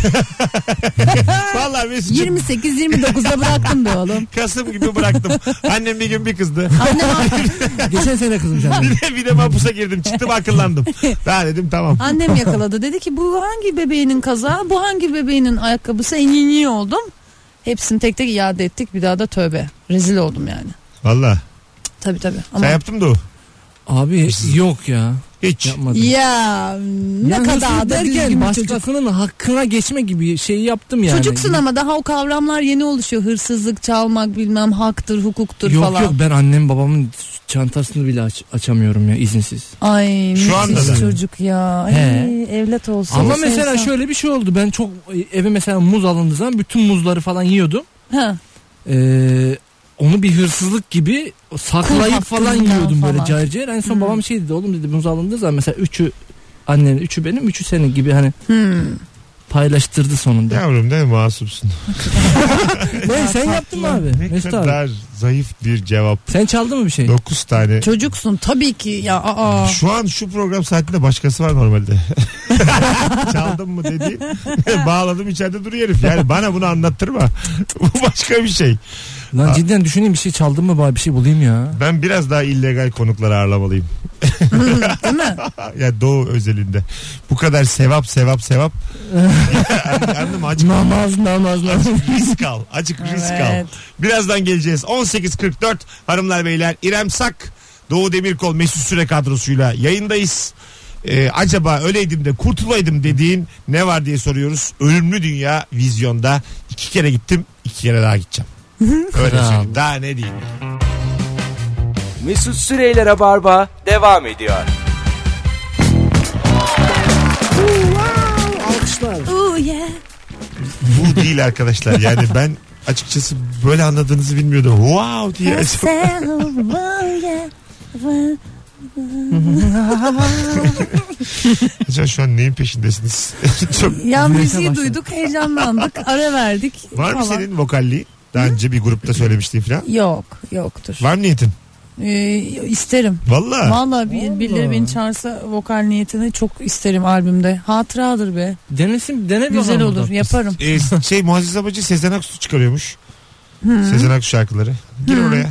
[SPEAKER 2] Vallahi Mesut'cum
[SPEAKER 4] 28-29'da bıraktım be oğlum.
[SPEAKER 2] Kasım gibi bıraktım. Annem bir gün bir kızdı.
[SPEAKER 4] Annem,
[SPEAKER 9] Geçen sene kızım sen.
[SPEAKER 2] bir de, bir de mapusa girdim. Çıktım akıllandım. Daha dedim tamam.
[SPEAKER 4] annem yakaladı. Dedi ki bu hangi bebeğinin kazağı, bu hangi bebeğinin ayakkabısı en iyi oldum. Hepsini tek tek iade ettik. Bir daha da tövbe. Rezil oldum yani.
[SPEAKER 2] Vallahi.
[SPEAKER 4] Tabii tabii. Ama
[SPEAKER 2] Sen yaptın da o.
[SPEAKER 9] Abi yok ya.
[SPEAKER 2] Hiç.
[SPEAKER 9] Yapmadım.
[SPEAKER 4] ya ne
[SPEAKER 9] Yani
[SPEAKER 4] kadar
[SPEAKER 9] hırsız
[SPEAKER 4] da
[SPEAKER 9] derken
[SPEAKER 4] düzgün bir şey çocuk.
[SPEAKER 9] başkasının hakkına geçme gibi şey yaptım yani.
[SPEAKER 4] Çocuksun ama daha o kavramlar yeni oluşuyor. Hırsızlık, çalmak bilmem haktır, hukuktur
[SPEAKER 9] Yok
[SPEAKER 4] falan.
[SPEAKER 9] yok ben annem babamın çantasını bile aç- açamıyorum ya izinsiz.
[SPEAKER 4] Ay
[SPEAKER 2] Şu anda
[SPEAKER 4] müthiş
[SPEAKER 2] da.
[SPEAKER 4] çocuk ya. Ay,
[SPEAKER 9] He.
[SPEAKER 4] evlat olsun.
[SPEAKER 9] Ama
[SPEAKER 4] sevsem.
[SPEAKER 9] mesela şöyle bir şey oldu. Ben çok e, eve mesela muz alındığı zaman bütün muzları falan yiyordum.
[SPEAKER 4] Ha.
[SPEAKER 9] Ee, onu bir hırsızlık gibi
[SPEAKER 4] Kul
[SPEAKER 9] saklayıp
[SPEAKER 4] hakkından
[SPEAKER 9] falan yiyordum böyle
[SPEAKER 4] falan.
[SPEAKER 9] cayır cayır. En son
[SPEAKER 4] Hmm.
[SPEAKER 9] babam şey dedi oğlum dedi muz alındığı zaman mesela üçü annenin üçü benim üçü senin gibi hani
[SPEAKER 4] Hmm.
[SPEAKER 9] paylaştırdı sonunda.
[SPEAKER 2] Yavrum ne masumsun.
[SPEAKER 9] Ben sen yaptın mı abi?
[SPEAKER 2] Ne
[SPEAKER 9] Mesut abi.
[SPEAKER 2] kadar zayıf bir cevap.
[SPEAKER 9] Sen çaldın mı bir şey?
[SPEAKER 2] 9 tane.
[SPEAKER 4] Çocuksun tabii ki ya. Aa.
[SPEAKER 2] Şu an şu program saatinde başkası var normalde. Çaldım mı dedi. Bağladım içeride duruyor herif. Yani bana bunu anlattırma. Bu başka bir şey.
[SPEAKER 9] Lan cidden düşüneyim bir şey çaldın mı bari bir şey bulayım ya.
[SPEAKER 2] Ben biraz daha illegal konukları ağırlamalıyım.
[SPEAKER 4] Değil mi?
[SPEAKER 2] ya Doğu özelinde. Bu kadar sevap sevap sevap. Anladın mı? Acık,
[SPEAKER 9] Namaz namaz namaz.
[SPEAKER 2] acık risk al. Acık risk al.
[SPEAKER 4] Evet.
[SPEAKER 2] Birazdan geleceğiz. 18.44 hanımlar beyler. İrem Sak, Doğu Demirkol, Mesut Süre kadrosuyla yayındayız. Ee, acaba öleydim de kurtulaydım dediğin ne var diye soruyoruz. Ölümlü Dünya vizyonda iki kere gittim iki kere daha gideceğim. Öyle
[SPEAKER 9] Bravo.
[SPEAKER 2] söyleyeyim. Daha ne diyeyim.
[SPEAKER 1] Mesut Süreyler'e barba devam ediyor.
[SPEAKER 4] Oo yeah.
[SPEAKER 2] Bu değil arkadaşlar. Yani ben açıkçası böyle anladığınızı bilmiyordum. Wow diye.
[SPEAKER 4] Sen, oh, yeah.
[SPEAKER 2] Acaba şu an neyin peşindesiniz? Çok...
[SPEAKER 4] Ya müziği
[SPEAKER 9] başladı.
[SPEAKER 4] duyduk heyecanlandık ara verdik.
[SPEAKER 2] Var mı
[SPEAKER 4] falan.
[SPEAKER 2] senin vokalliği? Daha önce bir grupta söylemiştin falan.
[SPEAKER 4] Yok yoktur.
[SPEAKER 2] Var mı niyetin?
[SPEAKER 4] Ee, isterim.
[SPEAKER 2] Valla.
[SPEAKER 4] Vallahi bir, birileri beni çağırsa vokal niyetine çok isterim albümde. Hatıradır be.
[SPEAKER 9] Denesin dene bir
[SPEAKER 4] Güzel
[SPEAKER 9] bakalım
[SPEAKER 4] olur
[SPEAKER 9] burada.
[SPEAKER 4] yaparım.
[SPEAKER 2] Ee, şey Muazzez Abacı Sezen Aksu çıkarıyormuş.
[SPEAKER 4] Hmm.
[SPEAKER 2] Sezen Aksu şarkıları. Gir oraya.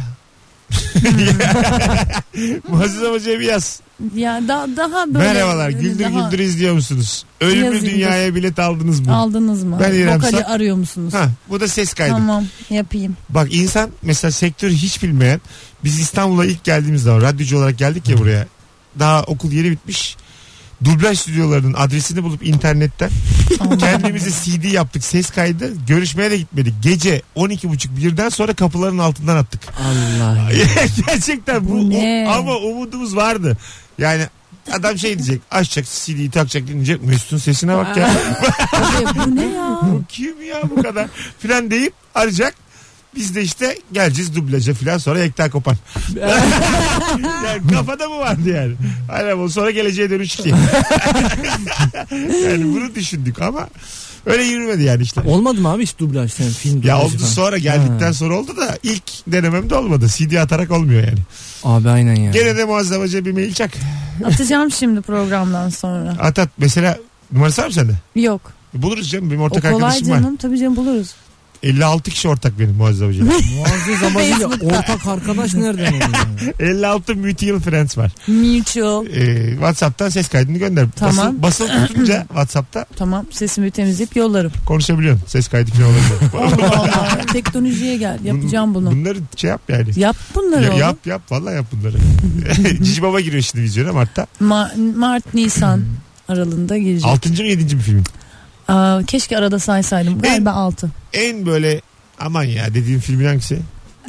[SPEAKER 2] Muazzez Abacı'ya bir yaz.
[SPEAKER 4] Ya da, daha böyle.
[SPEAKER 2] Merhabalar.
[SPEAKER 4] böyle
[SPEAKER 2] Güldür
[SPEAKER 4] daha-
[SPEAKER 2] güldür izliyor musunuz? Ölümlü
[SPEAKER 4] Yazayım,
[SPEAKER 2] dünyaya bilet aldınız mı?
[SPEAKER 4] Aldınız mı?
[SPEAKER 2] Ben İrem
[SPEAKER 4] Vokali
[SPEAKER 2] Sak.
[SPEAKER 4] arıyor musunuz?
[SPEAKER 2] Ha, bu da ses kaydı.
[SPEAKER 4] Tamam yapayım.
[SPEAKER 2] Bak insan mesela sektörü hiç bilmeyen biz İstanbul'a ilk geldiğimiz zaman radyocu olarak geldik ya buraya. Daha okul yeni bitmiş. Dublaj stüdyolarının adresini bulup internetten kendimize CD yaptık ses kaydı. Görüşmeye de gitmedik. Gece 12.30 birden sonra kapıların altından attık.
[SPEAKER 9] Allah.
[SPEAKER 2] Gerçekten bu,
[SPEAKER 4] Bu ne?
[SPEAKER 2] o- ama umudumuz vardı. Yani adam şey diyecek açacak CD'yi takacak dinleyecek Mesut'un sesine bak ya.
[SPEAKER 4] Tabii, bu ne ya?
[SPEAKER 2] bu kim ya bu kadar filan deyip arayacak. Biz de işte geleceğiz dublaja filan sonra Ekta Kopan. yani kafada mı vardı yani? Aynen bu sonra geleceğe dönüş ki. yani bunu düşündük ama öyle yürümedi yani işte.
[SPEAKER 9] Olmadı mı abi hiç dublaj sen film
[SPEAKER 2] Ya
[SPEAKER 9] dublajı
[SPEAKER 2] oldu
[SPEAKER 9] falan?
[SPEAKER 2] sonra geldikten
[SPEAKER 9] Ha.
[SPEAKER 2] sonra oldu da ilk denememde olmadı. CD atarak olmuyor yani.
[SPEAKER 9] Abi aynen ya.
[SPEAKER 2] Gene de muazzamaca bir mail çak.
[SPEAKER 4] Atacağım şimdi programdan sonra.
[SPEAKER 2] At at mesela numarası var mı sende?
[SPEAKER 4] Yok.
[SPEAKER 2] Buluruz canım benim
[SPEAKER 4] O
[SPEAKER 2] ortak
[SPEAKER 4] kolay
[SPEAKER 2] arkadaşım var.
[SPEAKER 4] canım. Tabii canım buluruz.
[SPEAKER 2] 56 kişi ortak benim muazzamacı.
[SPEAKER 9] Muazzez amacıyla ortak arkadaş nereden oluyor? ya?
[SPEAKER 2] 56 mutual friends var.
[SPEAKER 4] Mutual.
[SPEAKER 2] Ee, WhatsApp'tan ses kaydını gönder.
[SPEAKER 4] Tamam.
[SPEAKER 2] Basıl, basılı tutunca WhatsApp'ta
[SPEAKER 4] Tamam sesimi temizleyip yollarım.
[SPEAKER 2] konuşabiliyorsun. Ses kaydı falan olabilir.
[SPEAKER 4] Allah Allah. Teknolojiye gel. Yapacağım bunu.
[SPEAKER 2] Bunları şey yap yani.
[SPEAKER 4] Yap bunları
[SPEAKER 2] Ya-
[SPEAKER 4] oğlum.
[SPEAKER 2] yap yap vallahi yap bunları. Cici Baba giriyor şimdi vizyona Mart'ta.
[SPEAKER 4] Ma- Mart, Nisan aralığında girecek.
[SPEAKER 2] 6. mı 7. mi filmin?
[SPEAKER 4] Aa, keşke arada saysaydım. Galiba 6.
[SPEAKER 2] En böyle aman ya dediğim filmin hangisi?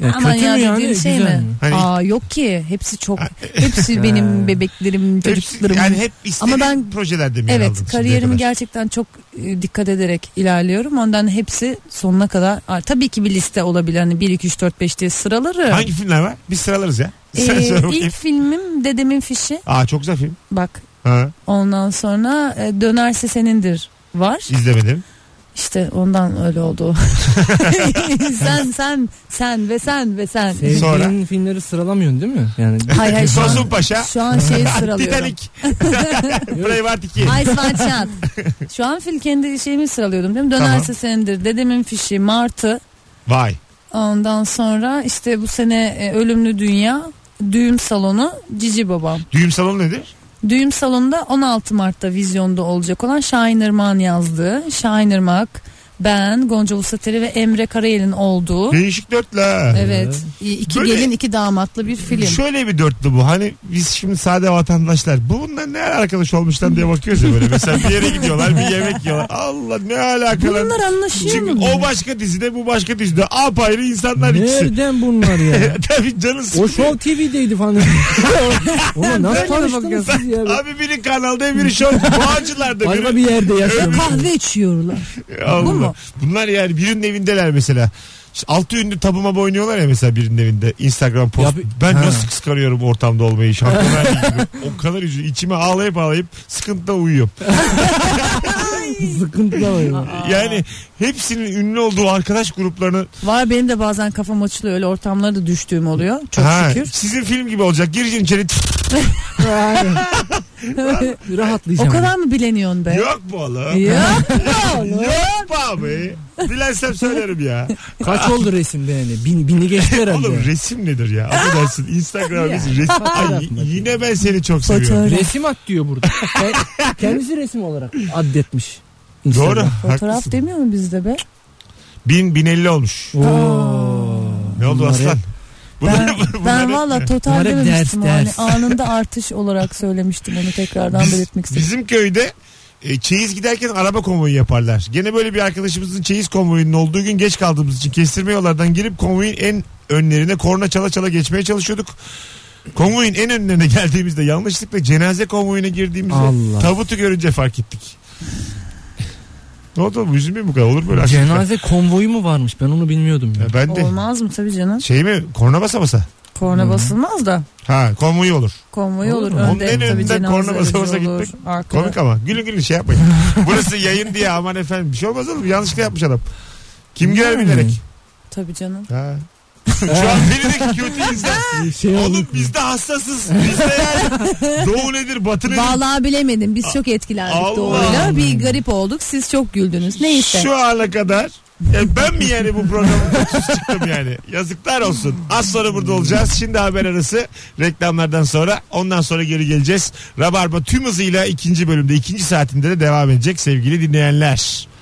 [SPEAKER 9] Ya
[SPEAKER 4] Aman
[SPEAKER 9] kötü
[SPEAKER 4] ya
[SPEAKER 9] mü yani?
[SPEAKER 4] dediğin şey
[SPEAKER 9] Güzel
[SPEAKER 4] mi?
[SPEAKER 9] mi?
[SPEAKER 2] Hani-
[SPEAKER 4] Aa yok ki. Hepsi çok. Hepsi benim bebeklerim,
[SPEAKER 2] Hepsi,
[SPEAKER 4] çocuklarım.
[SPEAKER 2] yani hep istediğim
[SPEAKER 4] Ama ben-
[SPEAKER 2] projelerde mi yer aldın
[SPEAKER 4] Evet
[SPEAKER 2] şimdiye
[SPEAKER 4] kariyerimi
[SPEAKER 2] kadar?
[SPEAKER 4] gerçekten çok e, dikkat ederek ilerliyorum. Ondan hepsi sonuna kadar. Aa, Tabii ki bir liste olabilir. Hani 1, 2, 3, 4, 5 diye sıraları.
[SPEAKER 2] Hangi filmler var? Biz sıralarız ya. Sen
[SPEAKER 4] Ee,
[SPEAKER 2] söyle bakayım.
[SPEAKER 4] ilk filmim Dedemin Fişi.
[SPEAKER 2] Aa çok güzel film.
[SPEAKER 4] Bak
[SPEAKER 2] Ha,
[SPEAKER 4] ondan sonra e, Dönerse Senindir var.
[SPEAKER 2] izlemedim.
[SPEAKER 4] İşte ondan öyle oldu. sen sen sen ve sen ve sen.
[SPEAKER 9] Sevdiğin
[SPEAKER 2] Sonra?
[SPEAKER 9] filmleri sıralamıyorsun değil mi? Yani
[SPEAKER 4] Hayır hayır şu an,
[SPEAKER 2] Tosun Paşa.
[SPEAKER 4] şu an şeyi sıralıyorum.
[SPEAKER 2] Titanic. Braveheart 2.
[SPEAKER 4] Ice White Shot. Şu an fil kendi şeyimi sıralıyordum değil mi?
[SPEAKER 2] Tamam.
[SPEAKER 4] Dönerse Senindir, Dedemin Fişi, Martı.
[SPEAKER 2] Vay.
[SPEAKER 4] Ondan sonra işte bu sene e, Ölümlü Dünya, Düğüm Salonu, Cici Babam.
[SPEAKER 2] Düğüm salonu nedir?
[SPEAKER 4] Düğüm salonunda 16 Mart'ta vizyonda olacak olan Şahin Irmak'ın yazdığı. Şahin Irmak, ben, Gonca Vusateri ve Emre Karayel'in olduğu.
[SPEAKER 2] Değişik dörtlü.
[SPEAKER 4] Evet. İ- iki
[SPEAKER 2] Böyle-
[SPEAKER 4] gelin, iki damatlı bir film.
[SPEAKER 2] Şöyle bir dörtlü bu. Hani biz şimdi sade vatandaşlar. Bu bunlar ne arkadaş olmuşlar diye bakıyoruz ya böyle. Mesela bir yere gidiyorlar bir yemek yiyorlar. Allah ne alakalar.
[SPEAKER 4] Bunlar anlaşıyor
[SPEAKER 2] Çünkü
[SPEAKER 4] mu?
[SPEAKER 2] o başka dizide bu başka dizide. Apayrı insanlar ikisi.
[SPEAKER 9] nereden bunlar ya?
[SPEAKER 2] Tabii canı
[SPEAKER 9] o
[SPEAKER 2] sıkılıyor.
[SPEAKER 9] Show TV'deydi falan. Ona nasıl tanıştınız siz ya?
[SPEAKER 2] Abi biri kanalda biri şov. Bağcılar'da
[SPEAKER 9] Başka
[SPEAKER 2] biri.
[SPEAKER 9] bir yerde yaşıyorum.
[SPEAKER 4] Kahve içiyorlar.
[SPEAKER 2] Allah.
[SPEAKER 4] Bu mu?
[SPEAKER 2] Bunlar yani birinin evindeler mesela. İşte Altı ünlü tabuma oynuyorlar ya mesela birinin evinde Instagram post.
[SPEAKER 9] Ya bir-
[SPEAKER 2] ben
[SPEAKER 9] Ha.
[SPEAKER 2] nasıl sık sık arıyorum ortamda olmayı şampiyonlar Ligi gibi. O kadar üzü içime ağlayıp ağlayıp sıkıntıda uyuyorum.
[SPEAKER 9] Sıkıntıda var ya.
[SPEAKER 2] Yani hepsinin ünlü olduğu arkadaş gruplarını
[SPEAKER 4] Var benim de bazen kafam açılıyor. Öyle ortamlara da düştüğüm oluyor. Çok
[SPEAKER 2] Ha,
[SPEAKER 4] şükür.
[SPEAKER 2] sizin film gibi olacak. Gireceksin içeri
[SPEAKER 9] Bir Rahatlayacağım.
[SPEAKER 4] o kadar mı bileniyorsun be?
[SPEAKER 2] yok mu oğlum?
[SPEAKER 4] Ya.
[SPEAKER 2] yok mu abi? Dilersem söylerim ya.
[SPEAKER 9] Kaç oldu resimde yani? Bin, bini geçti herhalde.
[SPEAKER 2] Oğlum resim nedir ya? Affedersin Instagram
[SPEAKER 4] Ya.
[SPEAKER 2] resim. resim. Ay, yine ben seni çok seviyorum.
[SPEAKER 4] Fotoğraf.
[SPEAKER 9] Resim at diyor burada. Ke- Kendisi resim olarak addetmiş. Instagram.
[SPEAKER 2] Doğru.
[SPEAKER 4] Fotoğraf
[SPEAKER 2] haklısın.
[SPEAKER 4] demiyor mu bizde be?
[SPEAKER 2] Bin, bin elli olmuş.
[SPEAKER 9] Oo.
[SPEAKER 2] Ne oldu
[SPEAKER 9] Bunlar
[SPEAKER 2] aslan?
[SPEAKER 4] Ben,
[SPEAKER 2] Bunlar- bunlar
[SPEAKER 4] ben
[SPEAKER 2] hep-
[SPEAKER 4] valla total
[SPEAKER 9] Bunlar hep
[SPEAKER 4] dememiştim.
[SPEAKER 9] ders,
[SPEAKER 4] yani.
[SPEAKER 9] ders.
[SPEAKER 4] Anında artış olarak söylemiştim onu tekrardan
[SPEAKER 2] Biz-
[SPEAKER 4] belirtmek istedim.
[SPEAKER 2] Bizim köyde e, çeyiz giderken araba konvoyu yaparlar. Gene böyle bir arkadaşımızın çeyiz konvoyunun olduğu gün geç kaldığımız için kestirme yollardan girip konvoyun en önlerine korna çala çala geçmeye çalışıyorduk. Konvoyun en önlerine geldiğimizde yanlışlıkla cenaze konvoyuna girdiğimizde
[SPEAKER 9] Allah.
[SPEAKER 2] tabutu görünce fark ettik. ne oldu oğlum? Üzülmeyin bu kadar. Olur böyle. aksilikler.
[SPEAKER 9] Cenaze konvoyu mu varmış? Ben onu bilmiyordum ya.
[SPEAKER 2] Ya ben de
[SPEAKER 4] Olmaz mı tabii canım?
[SPEAKER 2] şey mi korna basa basa.
[SPEAKER 4] Korna basılmaz da.
[SPEAKER 2] Ha konvoyu olur.
[SPEAKER 4] Konvoy
[SPEAKER 9] Olur
[SPEAKER 4] olur.
[SPEAKER 9] mu?
[SPEAKER 2] Onun
[SPEAKER 4] Önde
[SPEAKER 2] en
[SPEAKER 4] tabii
[SPEAKER 2] önünden
[SPEAKER 4] cenaze
[SPEAKER 2] korna basa
[SPEAKER 4] aracı
[SPEAKER 2] basa
[SPEAKER 4] olur.
[SPEAKER 2] gitmek
[SPEAKER 4] Arkada.
[SPEAKER 2] Komik ama gülün gülün şey yapmayın. Burası yayın diye aman efendim bir şey olmaz oğlum yanlışlıkla yapmış adam. Kim girer
[SPEAKER 9] Yani.
[SPEAKER 2] bilerek.
[SPEAKER 4] Tabii canım.
[SPEAKER 2] Ha. Şu an beni de kötü izler.
[SPEAKER 9] Şey
[SPEAKER 2] Oğlum biz de hassasız. Biz de yani doğu nedir batı nedir?
[SPEAKER 4] Vallahi bilemedim. Biz çok etkilendik
[SPEAKER 2] Allah.
[SPEAKER 4] doğruyla. Bir garip olduk. Siz çok güldünüz. Neyse.
[SPEAKER 2] Şu ana kadar e, ben mi yani bu programın kötüsü çıktım yani? Yazıklar olsun. Az sonra burada olacağız. Şimdi haber arası reklamlardan sonra ondan sonra geri geleceğiz. Rabarba tüm hızıyla ikinci bölümde ikinci saatinde de devam edecek sevgili dinleyenler.